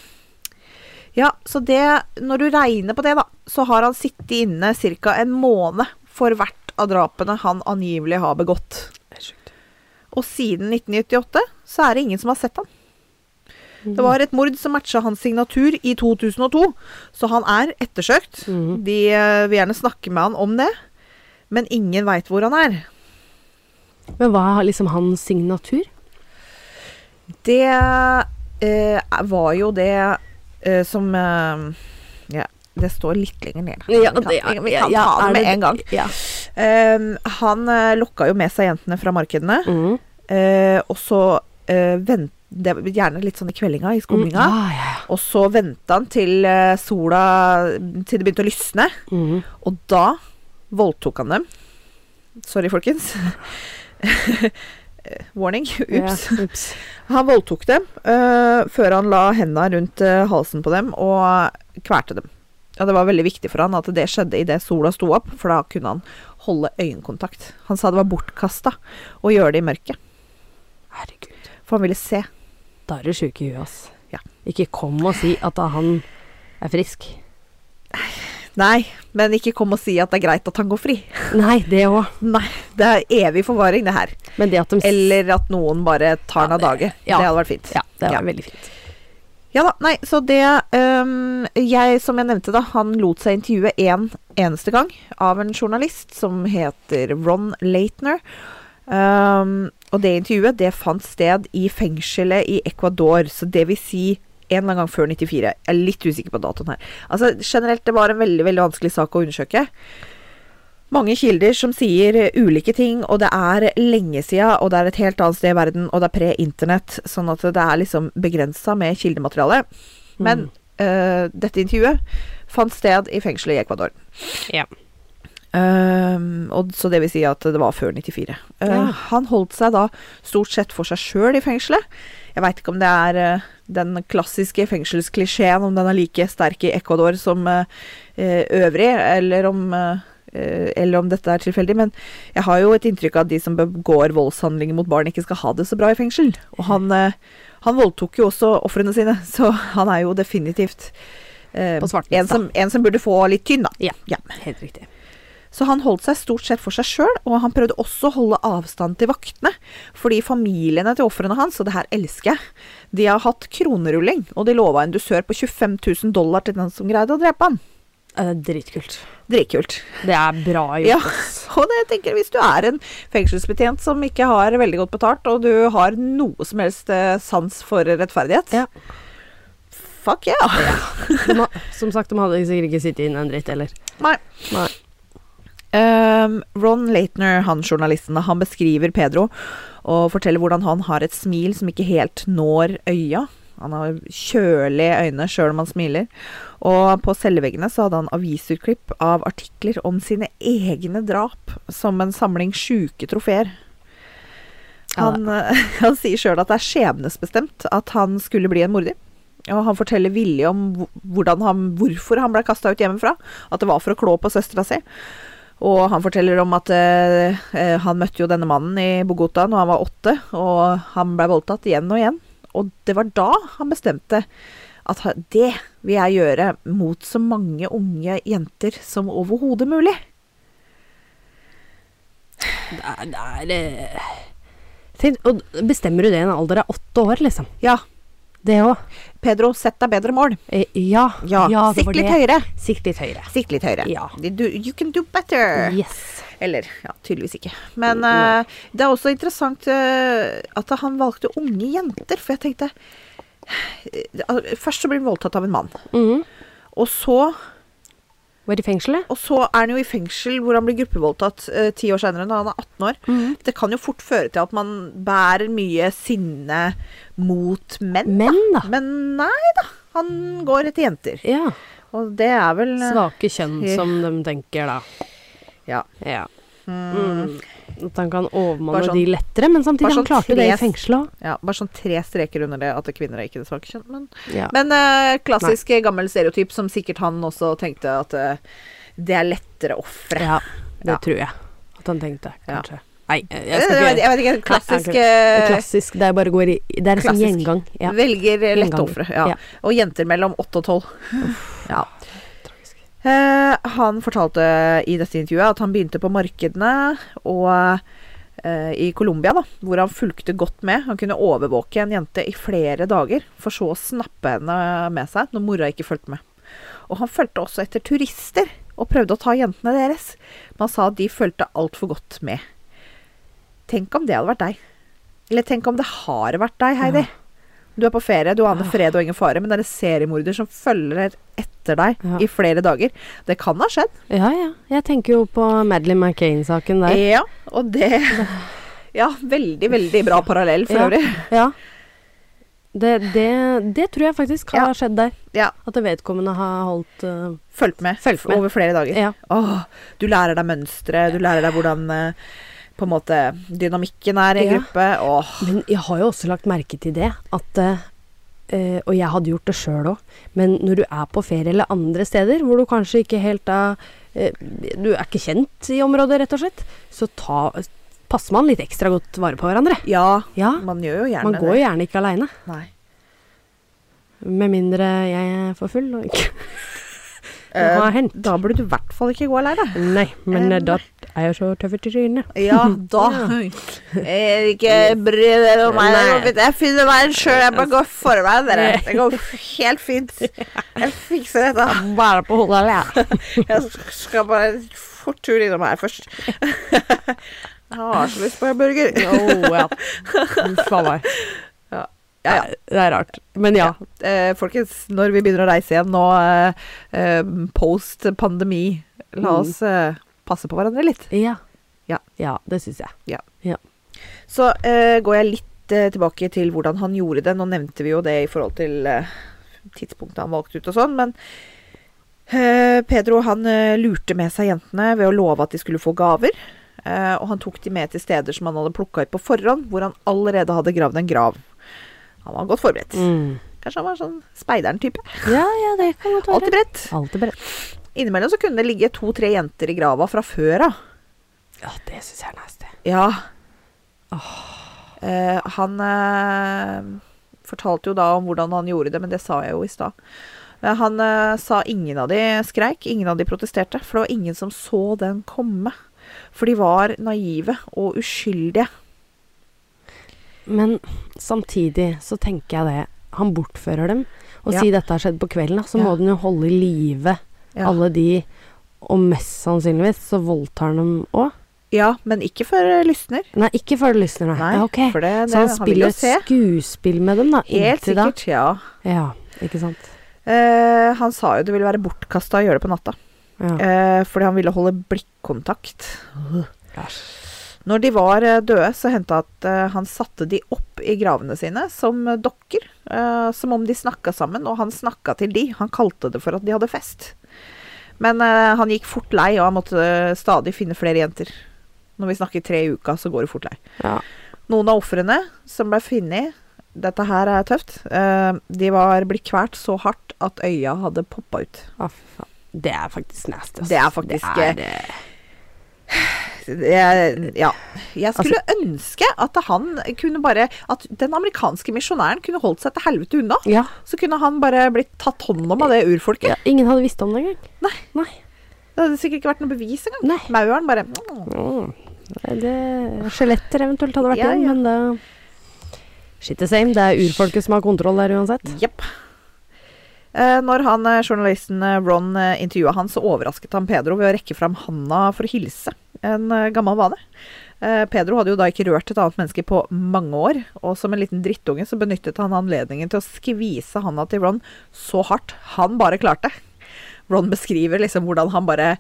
A: Ja, så det Når du regner på det, da, så har han sittet inne ca. en måned for hvert av drapene han angivelig har begått.
B: Det er sjukt.
A: Og siden 1998 så er det ingen som har sett han.
B: Mm.
A: Det var et mord som matcha hans signatur i 2002, så han er ettersøkt.
B: Mhm.
A: De eh, vil gjerne snakke med han om det, men ingen veit hvor han er.
B: Men hva er liksom hans signatur?
A: Det eh, var jo det eh, som eh, ja, Det står litt lenger ned. vi kan, vi, vi kan ta det med en gang.
B: Ja.
A: Eh, han eh, lokka jo med seg jentene fra markedene,
B: Mm.
A: eh, og så eh, vent, det var Gjerne litt sånn i kveldinga, i skumlinga.
B: Mm, Ja, ja, ja.
A: Og så venta han til eh, sola Til det begynte å lysne,
B: Mm.
A: og da voldtok han dem. Sorry, folkens. *laughs* Eh, Warning. Ups.
B: Ja, ups.
A: Han voldtok dem øh, før han la henda rundt øh, halsen på dem og kvalte dem. Og det var veldig viktig for han at det skjedde idet sola sto opp, for da kunne han holde øyekontakt. Han sa det var bortkasta å gjøre det i mørket,
B: Herregud.
A: for han ville se.
B: Da er du sjuk i huet, ass.
A: Ja.
B: Ikke kom og si at han er frisk.
A: Nei, men ikke kom og si at det er greit at han går fri.
B: Nei, det òg.
A: Nei, det er evig forvaring, det her.
B: Men det at de s-
A: Eller at noen bare tar den av dage.
B: Ja.
A: Det hadde vært fint.
B: Ja, det var
A: Ja.
B: veldig fint.
A: Ja da, nei, så det øhm, Jeg, som jeg nevnte da, han lot seg intervjue en eneste gang av en journalist som heter Ron Leitner. Øhm, og det intervjuet, det fant sted i fengselet i Ecuador, så det vil si en eller annen gang før 94. Jeg er litt usikker på datoen her. Altså generelt, det var en veldig, veldig vanskelig sak å undersøke. mange kilder som sier eh, ulike ting, og det er lenge sida, og det er et helt annet sted i verden, og det er pre-internett, sånn at det er liksom begrensa med kildemateriale. Men eh, dette intervjuet fant sted i fengselet i Ecuador.
B: Ja.
A: Ehm, og så det vil si at det var før 94. Eh,
B: Ja.
A: Han holdt seg da stort sett for seg sjøl i fengselet. Jeg veit ikke om det er eh, den klassiske fengselsklisjeen, om den er like sterk i Ecuador som eh, eh, øvrig, eller om eh, eh, eller om dette er tilfeldig, men jeg har jo et inntrykk av at de som begår voldshandlinger mot barn, ikke skal ha det så bra i fengsel. Og han, eh, han voldtok jo også ofrene sine, *laughs* så han er jo definitivt eh,
B: På svartlista.
A: en, som, en som burde få litt tynn, da.
B: Ja.
A: ja.
B: Helt riktig.
A: Så han holdt seg stort sett for seg sjøl, og han prøvde også å holde avstand til vaktene. Fordi familiene til ofrene hans, og det her elsker jeg, de har hatt kronerulling, og de lova en dusør på 25 000 dollar til den som greide å drepe han.
B: Ja, Det er dritkult.
A: Dritkult.
B: Det er bra gjort.
A: Ja,
B: ass.
A: *laughs* og det jeg tenker hvis du er en fengselsbetjent som ikke har veldig godt betalt, og du har noe som helst eh, sans for rettferdighet
B: Ja.
A: Fuck yeah!
B: De ha- som sagt, de hadde sikkert ikke sittet inne en dritt heller.
A: Nei.
B: Nei.
A: Ehm, Ron Leitner, han journalisten, han beskriver Pedro og forteller hvordan han har et smil som ikke helt når øya. Han har kjølige øyne sjøl om han smiler. Og på celleveggene så hadde han avisutklipp av artikler om sine egne drap som en samling sjuke trofeer.
B: Ja,
A: Han, eh, *laughs* han sier sjøl at det er skjebnesbestemt at han skulle bli en morder. Og han forteller villig om hvor- hvordan han, hvorfor han ble kasta ut hjemmefra. At det var for å klå på søstera si. Og han forteller om at eh, eh, han møtte jo denne mannen i Bogota når han var åtte, og han ble voldtatt igjen og igjen. Og det var da han bestemte at ha- det vil jeg gjøre mot så mange unge jenter som overhodet mulig.
B: Det er, det er eh, Tenk, og bestemmer du det i en alder av åtte år, liksom?
A: Ja,
B: Det òg?
A: Pedro, sett deg bedre mål.
B: Eh, ja.
A: Ja,
B: det
A: Sikt
B: var
A: litt
B: det.
A: høyere.
B: Sikt litt høyere.
A: Sikt litt høyere.
B: Ja.
A: Du, you can do better.
B: Yes.
A: Eller ja, tydeligvis ikke. Men
B: Nei.
A: eh, det er også interessant eh, at han valgte unge jenter, for jeg tenkte eh, Først så blir han voldtatt av en mann.
B: Mhm.
A: Og så,
B: Var i fengselet?
A: og så er han jo i fengsel hvor han blir gruppevoldtatt eh, ti år senere, når han er 18 år. Det kan jo fort føre til at man bærer mye sinne mot menn.
B: Menn, da.
A: Men nei da, han går etter jenter.
B: Ja.
A: Og det er vel eh,
B: Svake kjønn, som de tenker da.
A: Ja.
B: Ja. Mm. At han kan overmanne
A: Bare sånn-
B: de lettere, men samtidig
A: bare
B: han
A: sånn
B: klarte det i
A: tres-
B: fengselet òg.
A: ja. Bare sånn tre streker under det at kvinner er ikke det svake kjønn, men
B: Ja.
A: Men eh, klassisk eh, gammel stereotyp som sikkert han også tenkte at eh, det er lettere ofre.
B: ja, det
A: Ja.
B: tror jeg at han tenkte,
A: Ja.
B: kanskje. Nei, jeg
A: Eh, Jeg,
B: skal ikke
A: vet- jeg vet ikke, klassisk
B: Nei,
A: eh,
B: Klassisk. Det er bare går i Det er en sånn
A: Klassisk.
B: gjengang. Ja.
A: velger eh, lette
B: Inngang.
A: ofre. Ja.
B: Ja.
A: Og jenter mellom 8 og 12. Ja.
B: Tragisk.
A: Eh, han fortalte i dette intervjuet at han begynte på markedene og eh, i Colombia, da, hvor han fulgte godt med. Han kunne overvåke en jente i flere dager, for så å snappe henne med seg når mora ikke fulgte med. Og han fulgte også etter turister og prøvde å ta jentene deres, men han sa at de fulgte altfor godt med. Tenk om det hadde vært deg. Eller tenk om det har vært deg, Heidi. Du er på ferie, du aner fred og ingen fare, men det er en seriemorder som følger etter deg
B: Ja.
A: i flere dager. Det kan ha skjedd.
B: ja, ja. Jeg tenker jo på Madeleine McCain-saken der.
A: Ja, og det
B: *laughs*
A: Ja, veldig, veldig bra parallell for
B: Ja.
A: øvrig.
B: Ja. Det, det, det tror jeg faktisk har
A: Ja.
B: skjedd der.
A: Ja.
B: At vedkommende har holdt eh,
A: Fulgt med,
B: Fulgt med.
A: over flere dager.
B: Ja.
A: Åh, du lærer deg mønstre, du lærer deg hvordan eh, på en måte dynamikken er i en
B: Ja.
A: gruppe. Åh,
B: Men jeg har jo også lagt merke til det, at eh, eh, Og jeg hadde gjort det sjøl òg, men når du er på ferie eller andre steder hvor du kanskje ikke helt er eh, Du er ikke kjent i området, rett og slett, så ta, passer man litt ekstra godt vare på hverandre.
A: ja,
B: Ja.
A: man gjør jo gjerne
B: Man går jo gjerne ikke aleine.
A: det. Nei.
B: Med mindre jeg er for full og ikke Det har
A: Eh,
B: hendt.
A: Da burde du i hvert fall ikke gå aleine.
B: Nei, men eh,
A: Em.
B: da er jeg så tøff i trynet.
A: *laughs* Ja, da Eh, Ikke bry dere om meg.
B: Nei.
A: Jeg finner veien sjøl. Jeg bare går foran dere. Det går helt
B: *laughs*
A: fint. Jeg fikser dette.
B: Bare på hodet *laughs* alene.
A: Jeg skal bare en fort tur innom her først. *laughs* Jeg har så lyst på en burger.
B: Oh, ja. Uff a meg.
A: Ja. Ja, ja.
B: Nei, Det er rart. Men ja.
A: Eh, folkens, når vi begynner å reise igjen nå, eh, eh, post pandemi, la
B: Mm.
A: oss eh, passe på hverandre litt.
B: Ja.
A: Ja.
B: det syns jeg.
A: Så eh, går jeg litt eh, tilbake til hvordan han gjorde det. Nå nevnte vi jo det i forhold til eh, tidspunktet han valgte ut og sånn, men eh, Pedro han eh, lurte med seg jentene ved å love at de skulle få gaver. eh, og han tok de med til steder som han hadde plukka ut på forhånd, hvor han allerede hadde gravd en grav. Han var godt forberedt.
B: Mm.
A: Kanskje han var sånn speideren-type.
B: Ja, ja, det kan godt
A: Alltid
B: være.
A: beredt.
B: Alltid beredt.
A: Innimellom så kunne det ligge to-tre jenter i grava fra før av.
B: Ja, det syns jeg er nasty.
A: Ja. Eh, han eh, fortalte jo da om hvordan han gjorde det, men det sa jeg jo i stad. Men han eh, sa ingen av de skreik, ingen av de protesterte, for det var ingen som så den komme. For de var naive og uskyldige.
B: Men samtidig så tenker jeg det. Han bortfører dem. Og
A: Ja.
B: si dette har skjedd på kvelden, da, så
A: Ja.
B: må den jo holde i live
A: Ja.
B: alle de. Og mest sannsynligvis så voldtar han dem òg.
A: ja, men ikke for eh, lysner.
B: Nei, ikke før det lysner, nei. Ja, ok.
A: for det, det,
B: Så han
A: vil
B: spiller
A: jo
B: et
A: se.
B: skuespill med dem, da.
A: Helt
B: inntil da.
A: sikkert, ja.
B: Ja, ikke sant.
A: Eh, han sa jo det ville være bortkasta å gjøre det på natta,
B: Ja.
A: eh, fordi han ville holde blikkontakt.
B: Æsj.
A: Når de var eh, døde, så hendte at eh, han satte de opp i gravene sine som eh, dokker, eh, som om de snakka sammen, og han snakka til de. Han kalte det for at de hadde fest. Men eh, han gikk fort lei, og han måtte eh, stadig finne flere jenter. Når vi snakker tre i uka, så går det fort lei.
B: Ja.
A: Noen av ofrene som ble funnet Dette her er tøft. eh, de var blitt kvært så hardt at øya hadde poppa ut.
B: Å, fy faen. Det er faktisk nasty. ass.
A: Det er faktisk,
B: Det er, eh,
A: Jeg, ja. Jeg skulle ønske at han kunne bare At den amerikanske misjonæren kunne holdt seg til helvete unna.
B: ja.
A: Så kunne han bare blitt tatt hånd om av det urfolket.
B: ja. Ingen hadde visst om det engang.
A: Nei.
B: Nei.
A: Det hadde sikkert ikke vært noe bevis engang.
B: Nei.
A: Mauren bare
B: Mm. Det- det- Skjeletter eventuelt hadde vært
A: Ja,
B: igjen,
A: ja.
B: men da Shit the same. Det er urfolket som har kontroll der uansett.
A: Jepp. Eh, Når han, eh, journalisten eh, Ron eh, intervjua han, så overrasket han Pedro ved å rekke fram handa for å hilse. En eh, gammel vane. Eh, Pedro hadde jo da ikke rørt et annet menneske på mange år, og som en liten drittunge så benyttet han anledningen til å skvise handa til Ron så hardt han bare klarte. Ron beskriver liksom hvordan han bare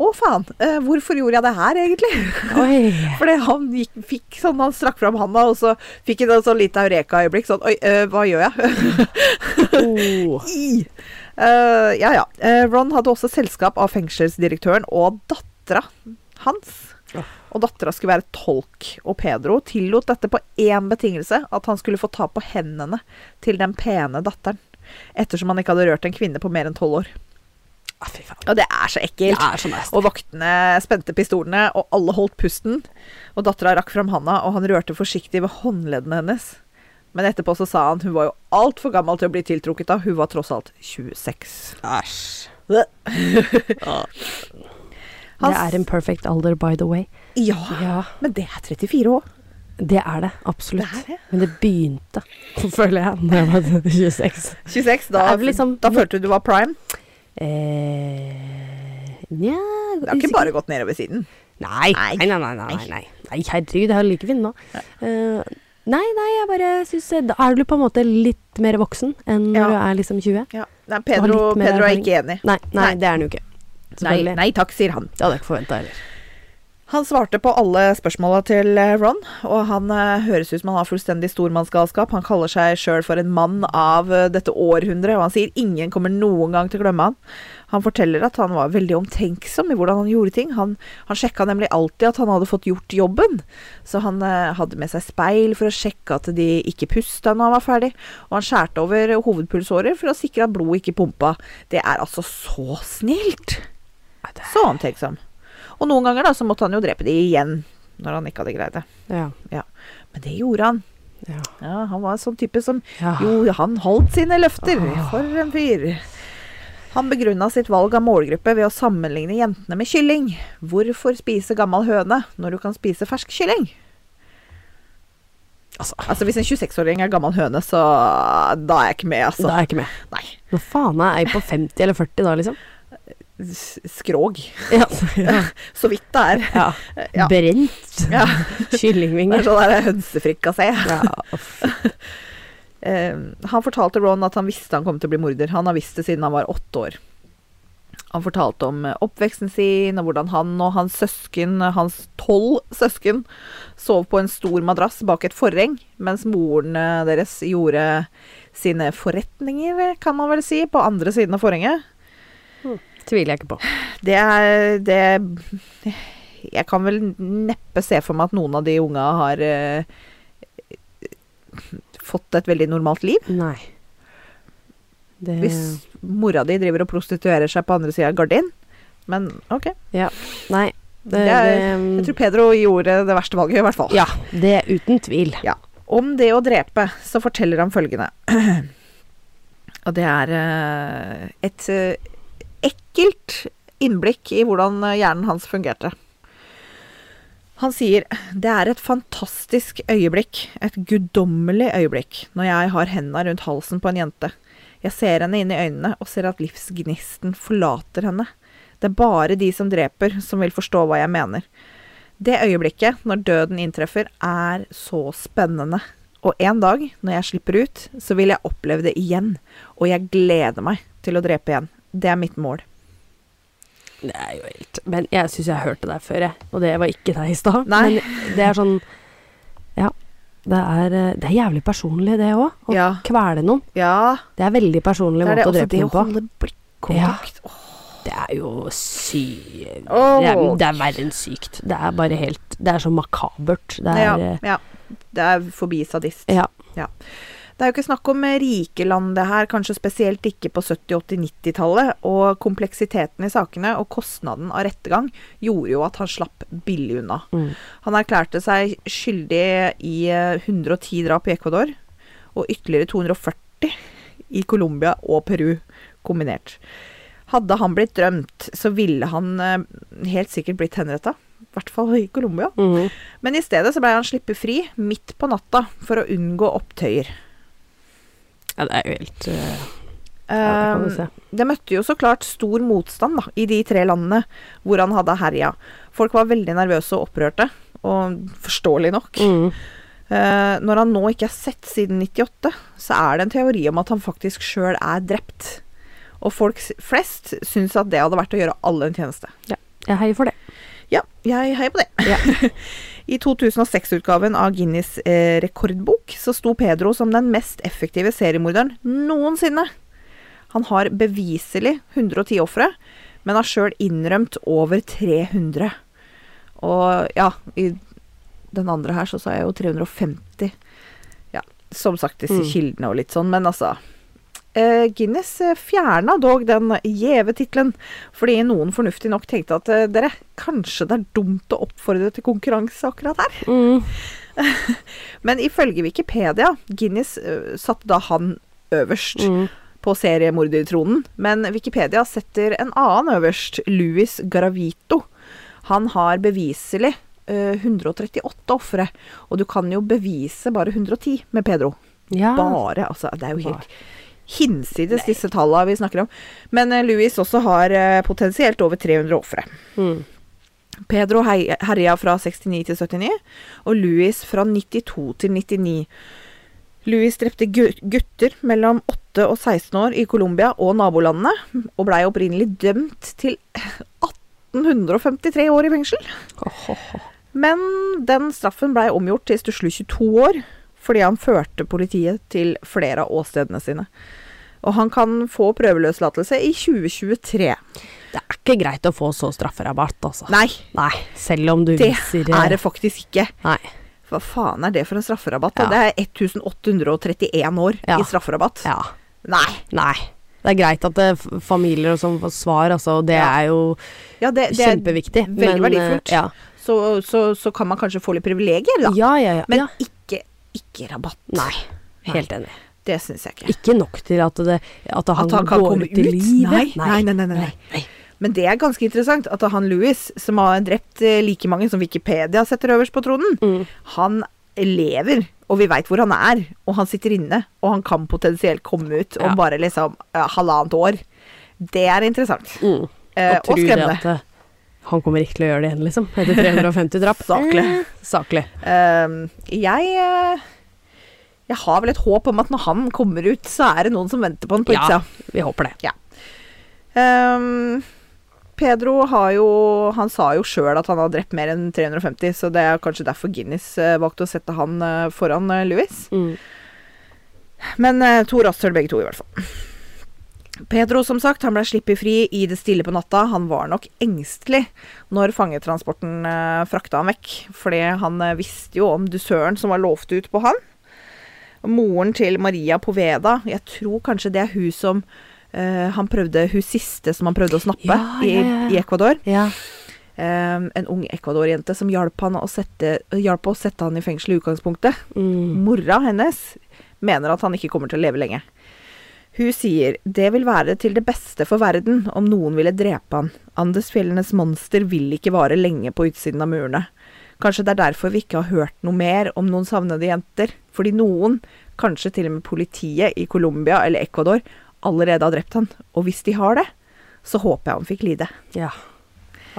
A: Å, faen, eh, hvorfor gjorde jeg det her, egentlig? *laughs*
B: Oi.
A: Fordi han gikk, fikk sånn, han strakk fram handa, og så fikk han et sånn lite eureka-øyeblikk. Sånn Oi, eh, hva gjør jeg? *laughs*
B: Oh.
A: I. Eh, ja, ja. Eh, Ron hadde også selskap av fengselsdirektøren og dattera hans.
B: Ja.
A: Og dattera skulle være tolk, og Pedro tillot dette på én betingelse, at han skulle få ta på hendene til den pene datteren. Ettersom han ikke hadde rørt en kvinne på mer enn tolv år.
B: Ah, fy faen.
A: Og det sånn er så
B: Det
A: ekkelt.
B: er så nasty.
A: Og vaktene spente pistolene, og alle holdt pusten. Og dattera rakk fram handa, og han rørte forsiktig ved håndleddene hennes. Men etterpå så sa han hun var jo altfor gammel til å bli tiltrukket av, hun var tross alt 26. *laughs*
B: Æsj.
A: Bleh.
B: Det
A: Hans-
B: er en perfect alder, by the way.
A: Ja,
B: Ja,
A: men det er 34 òg.
B: det er det. Absolutt.
A: Det er det.
B: Men det begynte, *laughs* føler jeg, da jeg var 26.
A: 26, da,
B: Det er vel liksom-
A: da følte du du var prime.
B: Eh, nja
A: Det har ikke bare gått nedover siden.
B: Nei,
A: Nei.
B: nei, nei, nei, nei, nei. nei herregud, jeg er like fin nå. Eh, nei, nei, jeg bare syns Da er du på en måte litt mer voksen enn når
A: Ja.
B: du er liksom 20.
A: Ja. Nei, Pedro,
B: Og litt mer
A: Pedro er
B: erfaring.
A: ikke enig.
B: Nei, nei,
A: Nei.
B: det er den jo ikke.
A: Nei,
B: Selvfølgelig.
A: nei takk, sier han.
B: Det hadde jeg ikke forventa heller.
A: Han svarte på alle spørsmåla til eh, Ron, og han eh, høres ut som han har fullstendig stormannsgalskap. Han kaller seg sjøl for en mann av eh, dette århundret, og han sier ingen kommer noen gang til å glemme han. Han forteller at han var veldig omtenksom i hvordan han gjorde ting. Han, han sjekka nemlig alltid at han hadde fått gjort jobben, så han eh, hadde med seg speil for å sjekke at de ikke pusta når han var ferdig, og han skjærte over hovedpulsårer for å sikre at blodet ikke pumpa. Det er altså så snilt!
B: Nei, det-
A: Så omtenksom. Og noen ganger da, så måtte han jo drepe de igjen, når han ikke hadde greid det.
B: Ja.
A: Men det gjorde han.
B: ja.
A: Ja, han var en sånn type som
B: ja.
A: Jo, han holdt sine løfter. For en fyr. Han begrunna sitt valg av målgruppe ved å sammenligne jentene med kylling. Hvorfor spise gammel høne når du kan spise fersk kylling?
B: Altså,
A: Altså, hvis en 26-åring er gammel høne, så da er jeg ikke med,
B: da
A: altså.
B: er jeg ikke med.
A: Nei.
B: Nå faen er jeg på 50 eller 40 da,
A: *laughs*
B: liksom?
A: S- Skrog. *laughs*
B: Ja. ja.
A: Så vidt det er. Ja.
B: Brent.
A: Ja. Det er
B: *laughs* Kyllingvinger.
A: sånn der hønsefrikassé.
B: Ja,
A: *laughs*
B: uff.
A: Eh, han fortalte Ron at han visste han kom til å bli morder. Han har visst det siden han var åtte år. Han fortalte om eh, oppveksten sin, og hvordan han og hans søsken, hans tolv søsken, sov på en stor madrass bak et forheng, mens moren eh, deres gjorde sine forretninger, kan man vel si, på andre siden av forhenget.
B: Tviler jeg ikke på.
A: Det er det Jeg kan vel neppe se for meg at noen av de unga har eh, fått et veldig normalt liv.
B: Nei. Det
A: Hvis mora di driver og prostituerer seg på andre sida av gardin. Men OK.
B: Nei. Det,
A: Det er-
B: det-
A: Jeg tror Pedro gjorde det verste valget, i hvert fall.
B: Mm. Ja, det er uten tvil.
A: Om det å drepe, så forteller han følgende. *clears throat* Og det er eh, et eh, ekkelt innblikk i hvordan eh, hjernen hans fungerte. Han sier det er et fantastisk øyeblikk, et guddommelig øyeblikk, når jeg har henda rundt halsen på en jente. Jeg ser henne inn i øynene og ser at livsgnisten forlater henne. Det er bare de som dreper, som vil forstå hva jeg mener. Det øyeblikket, når døden inntreffer, er så spennende. Og en dag, når jeg slipper ut, så vil jeg oppleve det igjen. Og jeg gleder meg til å drepe igjen. Det er mitt mål.
B: Det er jo helt Men jeg syns jeg hørte deg før, jeg. Og det var ikke deg i stad.
A: Nei.
B: Men det er sånn Ja. Det er, eh, det er jævlig personlig, det òg. Å
A: Ja.
B: kvele noen.
A: ja.
B: Det er veldig personlig
A: Det er det
B: måte å
A: også
B: drepe
A: det å
B: noen på.
A: holde blikkontakt. Åh,
B: Det er jo sykt
A: Åh.
B: det, er- det er verre enn sykt. Det er bare helt Det er så makabert. Det er
A: ja,
B: eh,
A: ja. Det er forbi sadist.
B: Ja.
A: Det er jo ikke snakk om eh, rike land det her, kanskje spesielt ikke på 70-, 80-, 90-tallet, og kompleksiteten i sakene og kostnaden av rettergang gjorde jo at han slapp billig unna.
B: Mm.
A: Han erklærte seg skyldig i eh, 110 drap i Ecuador, og ytterligere 240 i Colombia og Peru kombinert. Hadde han blitt drømt, så ville han eh, helt sikkert blitt henretta. I hvert fall i Colombia.
B: Mhm.
A: Men i stedet så blei han sluppet fri midt på natta for å unngå opptøyer.
B: ja, det er jo helt eh, ja, det kan du
A: Ehm,
B: se.
A: det møtte jo så klart stor motstand da, i de tre landene hvor han hadde herja. Folk var veldig nervøse og opprørte, og forståelig nok.
B: Mhm.
A: Eh, når han nå ikke er sett siden 98, så er det en teori om at han faktisk sjøl er drept. Og folk s- flest syns at det hadde vært å gjøre alle en tjeneste.
B: Jeg heier for det.
A: Ja, jeg heier på det.
B: Ja.
A: *laughs* I 2006-utgaven av Guinness eh, rekordbok så sto Pedro som den mest effektive seriemorderen noensinne. Han har beviselig 110 ofre, men har sjøl innrømt over 300. Og ja, i den andre her så sa jeg jo 350. Ja, som sagt disse
B: Mm.
A: kildene og litt sånn, men altså eh, Guinness eh, fjerna dog den gjeve tittelen, fordi noen fornuftig nok tenkte at eh, dere, kanskje det er dumt å oppfordre til konkurranse akkurat her?
B: Mhm.
A: Men ifølge Wikipedia, Guinness øh, satte da han øverst
B: Mhm.
A: på seriemordertronen, men Wikipedia setter en annen øverst, Louis Garavito. Han har beviselig øh, 138 ofre, og du kan jo bevise bare 110 med Pedro.
B: Ja.
A: Bare, altså. Det er jo
B: Bare.
A: helt hinsides disse tallene vi snakker om. Men øh, Louis også har øh, potensielt over 300 ofre.
B: Mhm.
A: Pedro hei- herja fra 69 til 79, og Louis fra 92 til 99. Louis drepte gu- gutter mellom 8 og 16 år i Colombia og nabolandene, og blei opprinnelig dømt til *laughs* 1853 år i fengsel. Men den straffen blei omgjort til stusslige 22 år, fordi han førte politiet til flere av åstedene sine. Og han kan få prøveløslatelse i 2023.
B: Det er ikke greit å få så strafferabatt, altså.
A: Nei,
B: Nei, selv om du
A: Det
B: viser eh,
A: er det faktisk ikke.
B: Nei.
A: Hva faen er det for en strafferabatt? da?
B: Ja.
A: Det er 1831 år
B: Ja.
A: i strafferabatt.
B: Ja.
A: Nei.
B: Nei. Det er greit at det er f- familier og sånn får svar, altså. og Det
A: Ja.
B: er jo
A: Ja, det, det er
B: kjempeviktig.
A: veldig
B: men, eh,
A: verdifullt.
B: Ja,
A: så, så, så kan man kanskje få litt privilegier, da.
B: ja, ja. ja,
A: Men
B: ja.
A: ikke, ikke rabatt.
B: Nei. Helt enig.
A: Det syns jeg ikke.
B: Ikke nok til at, det, at han,
A: At han kan
B: går
A: komme
B: ut i
A: ut? Nei,
B: livet.
A: nei, nei, nei, nei. Men det er ganske interessant at han Louis, som har drept eh, like mange som Wikipedia setter øverst på tronen,
B: Mm.
A: han lever, og vi veit hvor han er, og han sitter inne, og han kan potensielt komme ut om
B: Ja.
A: bare liksom eh, halvannet år. Det er interessant.
B: Mm.
A: Eh,
B: og
A: og
B: tror
A: skremmende.
B: at eh, han kommer ikke til å gjøre det igjen, liksom. Etter 350 drap.
A: *laughs* Saklig.
B: Eh, Saklig.
A: Ehm, jeg eh, Jeg har vel et håp om at når han kommer ut, så er det noen som venter på han på
B: Ja.
A: utsida.
B: Vi håper det.
A: Ehm, Pedro har jo Han sa jo sjøl at han har drept mer enn 350, så det er kanskje derfor Guinness eh, valgte å sette han eh, foran eh, Louis.
B: Mm.
A: Men eh, to rasshøl begge to, i hvert fall. Pedro, som sagt, han ble sluppet fri i det stille på natta. Han var nok engstelig når fangetransporten eh, frakta han vekk, fordi han eh, visste jo om dusøren som var lovt ut på han. Moren til Maria Poveda, jeg tror kanskje det er hun som eh, han prøvde, hun siste som han prøvde å snappe
B: Ja, ja, ja, ja.
A: I, i Ecuador.
B: Ja.
A: Eh, en ung Ecuador-jente som hjalp, han å sette, hjalp å sette han i fengsel i utgangspunktet.
B: Mm.
A: Mora hennes mener at han ikke kommer til å leve lenge. Hun sier det vil være til det beste for verden om noen ville drepe han. Andesfjellenes monster vil ikke vare lenge på utsiden av murene. Kanskje det er derfor vi ikke har hørt noe mer om noen savnede jenter. Fordi noen, kanskje til og med politiet i Colombia eller Ecuador, allerede har drept han. Og hvis de har det, så håper jeg han fikk lide.
B: ja.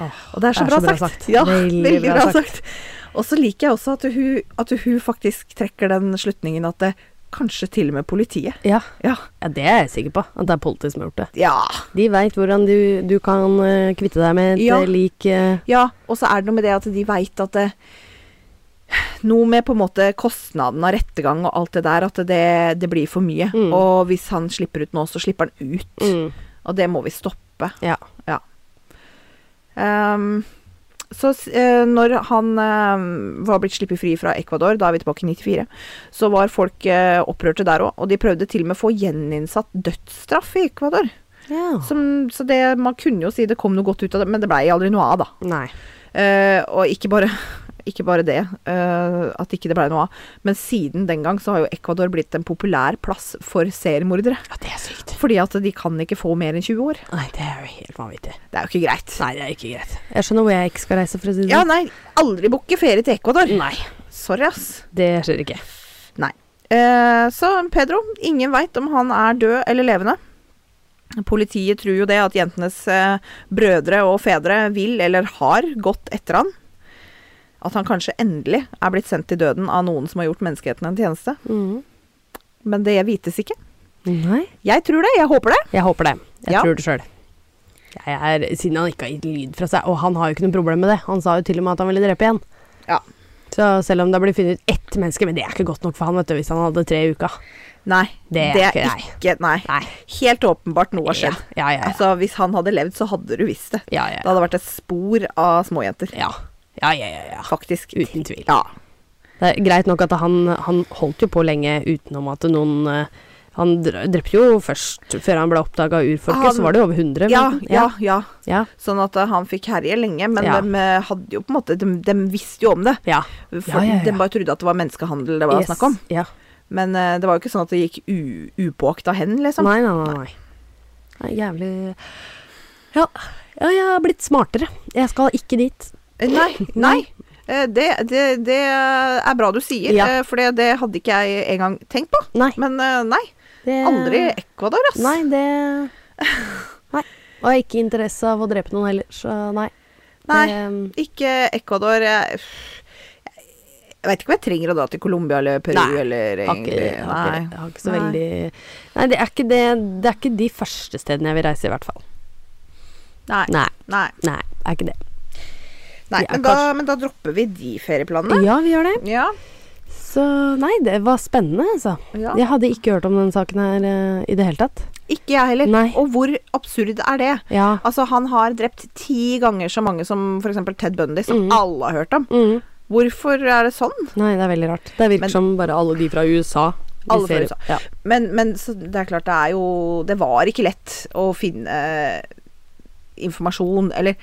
A: Og det er så, bra, sagt. Ja, veldig, bra sagt. Og så liker jeg også at hun, at hun faktisk trekker den slutningen at det kanskje til og med politiet.
B: Ja.
A: Ja.
B: ja, det er jeg sikker på. At det er politiet som har gjort det.
A: Ja.
B: De veit hvordan du, du kan eh, kvitte deg med et
A: Ja.
B: eh, lik eh,
A: ja. Og så er det noe med det at de veit at det, Noe med på en måte kostnaden av rettergang og alt det der, at det, det blir for mye.
B: Mm.
A: Og hvis han slipper ut nå, så slipper han ut.
B: mm.
A: Og det må vi stoppe.
B: Ja.
A: Ehm, så s- eh, når han ehm, var blitt sluppet fri fra Ecuador, da er vi tilbake i 94, så var folk eh, opprørte der òg. Og de prøvde til og med å få gjeninnsatt dødsstraff i Ecuador.
B: ja.
A: Som, så det, man kunne jo si det kom noe godt ut av det, men det blei aldri noe av, da.
B: Nei.
A: Eh, og ikke bare, *laughs* ikke bare det, eh, at ikke det blei noe av. Men siden den gang så har jo Ecuador blitt en populær plass for seriemordere.
B: Ja, det er sykt.
A: Fordi at de kan ikke få mer enn 20 år.
B: Nei, det er jo helt vanvittig.
A: Det er jo ikke greit.
B: Nei, det er ikke greit. Jeg skjønner hvor jeg ikke skal reise, for å si det
A: Ja, nei, aldri booke ferie til Ecuador.
B: sånn. Nei,
A: Sorry, ass.
B: det skjer ikke.
A: Eh, så Pedro, ingen veit om han er død eller levende. Politiet tror jo det, at jentenes eh, brødre og fedre vil eller har gått etter han. At han kanskje endelig er blitt sendt til døden av noen som har gjort menneskeheten en tjeneste.
B: Mm.
A: Men det vites ikke.
B: Nei.
A: Jeg tror det, jeg håper det.
B: Jeg håper det. Jeg
A: Ja.
B: tror det sjøl. Jeg er, siden han ikke har gitt lyd fra seg, og han har jo ikke noe problem med det. Han sa jo til og med at han ville drepe igjen.
A: Ja.
B: Så selv om det blir funnet ett menneske, men det er ikke godt nok for han, vet du, hvis han hadde tre i uka.
A: Nei,
B: Det er ikke nei.
A: ikke Nei.
B: Nei.
A: Helt åpenbart noe har skjedd.
B: Ja, ja, ja.
A: Altså, hvis han hadde levd, så hadde du visst det.
B: Ja,
A: Det
B: ja,
A: hadde vært et spor av småjenter.
B: ja. ja, ja, ja, ja.
A: Faktisk.
B: Uten tvil.
A: Ja.
B: Det er greit nok at han, han holdt jo på lenge utenom at noen eh, Han dr- drepte jo først, før han ble oppdaga av urfolket,
A: Han-
B: så var det jo over 100.
A: Ja,
B: men-
A: ja, ja.
B: ja.
A: Sånn at eh, han fikk herje lenge, men
B: Ja.
A: de hadde jo på en måte De, visste jo om det.
B: ja.
A: For
B: Ja, ja, ja.
A: De bare trodde at det var menneskehandel det var
B: Yes.
A: snakk om.
B: Ja.
A: Men eh, det var jo ikke sånn at det gikk u- upåakta hen, liksom.
B: Nei, nei, nei. nei. Det er jævlig ja. ja, jeg har blitt smartere. Jeg skal ikke dit.
A: Eh, Nei.
B: *laughs*
A: nei. Eh, Det, det, det er bra du sier,
B: Ja.
A: eh, for det, det hadde ikke jeg engang tenkt på.
B: Nei.
A: Men eh, nei,
B: det-
A: aldri Ecuador, ass.
B: Nei, det Nei. Og jeg har ikke interesse av å drepe noen heller, så nei.
A: Nei,
B: Det- um,
A: Ikke Ecuador. eh, Jeg, jeg vet ikke om jeg trenger å dra til Colombia eller Peru
B: Nei,
A: eller
B: har ikke,
A: egentlig
B: har ikke, har ikke så
A: Nei.
B: veldig Nei, det er ikke, det, det er ikke de første stedene jeg vil reise, i hvert fall.
A: Nei.
B: Nei,
A: Nei.
B: nei, det er ikke det.
A: nei.
B: Ja,
A: men, da, men da dropper vi de ferieplanene.
B: Ja, vi gjør det.
A: Ja,
B: Så nei, det var spennende, altså.
A: ja.
B: Jeg hadde ikke hørt om den saken her eh, i det hele tatt.
A: Ikke jeg heller.
B: Nei.
A: Og hvor absurd er det?
B: Ja.
A: Altså, han har drept ti ganger så mange som f.eks. Ted Bundy, som
B: Mm.
A: alle har hørt om.
B: Mm.
A: Hvorfor er det sånn?
B: Nei, det er veldig rart. Det virker
A: Men-
B: som bare alle de fra USA. de
A: Alle fra
B: ser-
A: USA.
B: Ja.
A: Men, men så det er klart, det er jo Det var ikke lett å finne eh, informasjon, eller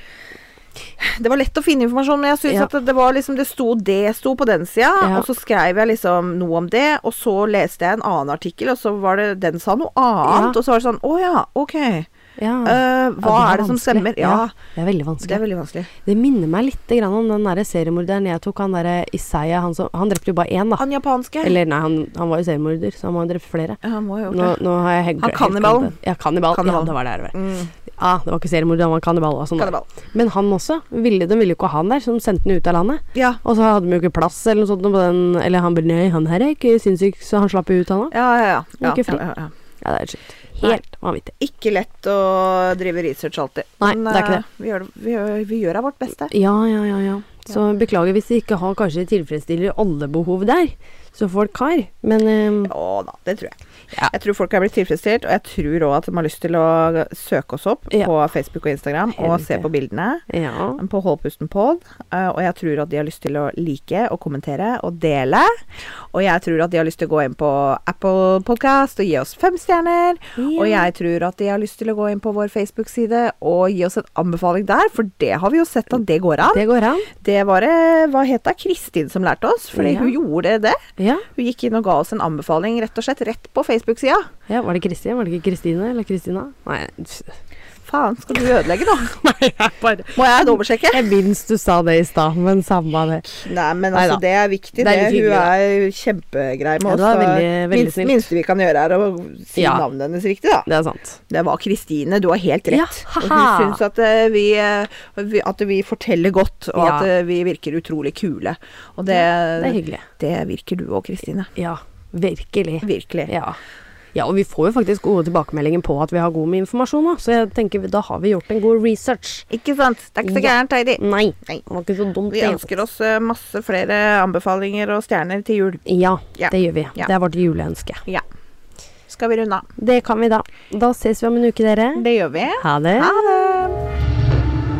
A: Det var lett å finne informasjon, men jeg syns
B: Ja.
A: at det, det var liksom Det sto det sto på den sida,
B: Ja.
A: og så skrev jeg liksom noe om det, og så leste jeg en annen artikkel, og så var det Den sa noe annet,
B: Ja.
A: og så var det sånn Å ja, ok.
B: Ja.
A: eh, hva
B: Ja,
A: er, det som
B: vanskelig.
A: stemmer? Ja,
B: Det er veldig
A: det
B: vanskelig.
A: er veldig vanskelig.
B: Det, minner meg litt grann om den derre seriemorderen jeg tok, han derre Isaiah, han som Han drepte jo bare én, da.
A: Han japanske.
B: Eller nei, han, han var jo seriemorder, så han må ha drept flere.
A: Ja, han må jo
B: Nå,
A: gjøre det.
B: nå har jeg helt
A: Han
B: helt
A: kannibalen.
B: glemt det. Ja, kannibal.
A: Kannibalen.
B: Ja, det var det. det var.
A: Mm.
B: Ja, det var ikke seriemorder, han var kannibal. Og sånn. da.
A: Kannibal.
B: Men han også. Ville, de ville jo ikke ha han der, så de sendte han ut av landet.
A: Ja.
B: Og så hadde de jo ikke plass eller noe sånt på den Eller han bare Nei, han her er ikke sinnssyk, så han slapp jo ut, han òg.
A: Ja, ja, ja.
B: Ikke fri.
A: ja, ja, ja.
B: Ja, det er sjukt. helt vanvittig.
A: Ikke lett å drive research alltid.
B: Nei, det er ikke det.
A: eh, Vi gjør, vi gjør, vi gjør av vårt beste.
B: Ja, ja, ja, ja. Så beklager hvis vi ikke har kanskje tilfredsstiller alle behov der, som folk har. Men eh,
A: Å da, det tror jeg.
B: Ja.
A: Jeg tror folk har blitt tilfredsstilt, og jeg tror òg at de har lyst til å søke oss opp
B: Ja.
A: på Facebook og Instagram
B: Helt
A: og se
B: riktig.
A: på bildene.
B: ja.
A: på Holdpusten pod, eh, og jeg tror at de har lyst til å like og kommentere og dele. Og jeg tror at de har lyst til å gå inn på Apple Podcast og gi oss fem stjerner. Og jeg tror at de har lyst til å gå inn på vår Facebook-side og gi oss en anbefaling der, for det har vi jo sett at det går an.
B: Det går an.
A: Det var det Hva het det? Kristin som lærte oss, fordi
B: Ja.
A: hun gjorde det.
B: Ja.
A: Hun gikk inn og ga oss en anbefaling rett og slett rett på Facebook-sida.
B: ja. Var det Kristin? Var det ikke Kristine? Eller Kristina? Nei.
A: Faen, skal du ødelegge nå? *laughs*
B: Nei, jeg bare
A: Må jeg dobbeltsjekke?
B: Jeg minst du sa det i stad, men samme det.
A: Nei, men altså,
B: Neida.
A: det er viktig.
B: Det er
A: Det
B: litt hyggelig,
A: hun
B: da.
A: er kjempegrei med
B: Ja,
A: oss.
B: det var
A: og
B: veldig- veldig
A: minst-
B: snilt.
A: minste vi kan gjøre, er å si
B: Ja.
A: navnet hennes riktig, da.
B: Det er sant.
A: Det var Kristine. Du har helt rett.
B: Ja,
A: og hun
B: haha.
A: syns at, eh, vi, eh, vi- at vi forteller godt, og
B: Ja.
A: at eh, vi virker utrolig kule. Og det,
B: Det er hyggelig.
A: det virker du òg, Kristine.
B: Ja, virkelig.
A: Virkelig.
B: Ja. ja, og vi får jo faktisk gode tilbakemeldinger på at vi har god med informasjon, da. Så jeg tenker vi- da har vi gjort en god research.
A: Ikke sant? Det er ikke så
B: Ja.
A: gærent, Heidi.
B: Nei,
A: Nei.
B: det var ikke så dumt.
A: Vi
B: det.
A: ønsker oss eh, masse flere anbefalinger og stjerner til jul.
B: Ja,
A: Ja.
B: det gjør vi.
A: Ja.
B: Det er vårt juleønske.
A: Ja. Skal vi runde av?
B: Det kan vi da. Da ses vi om en uke, dere.
A: Det gjør vi.
B: Ha det.
A: Ha det!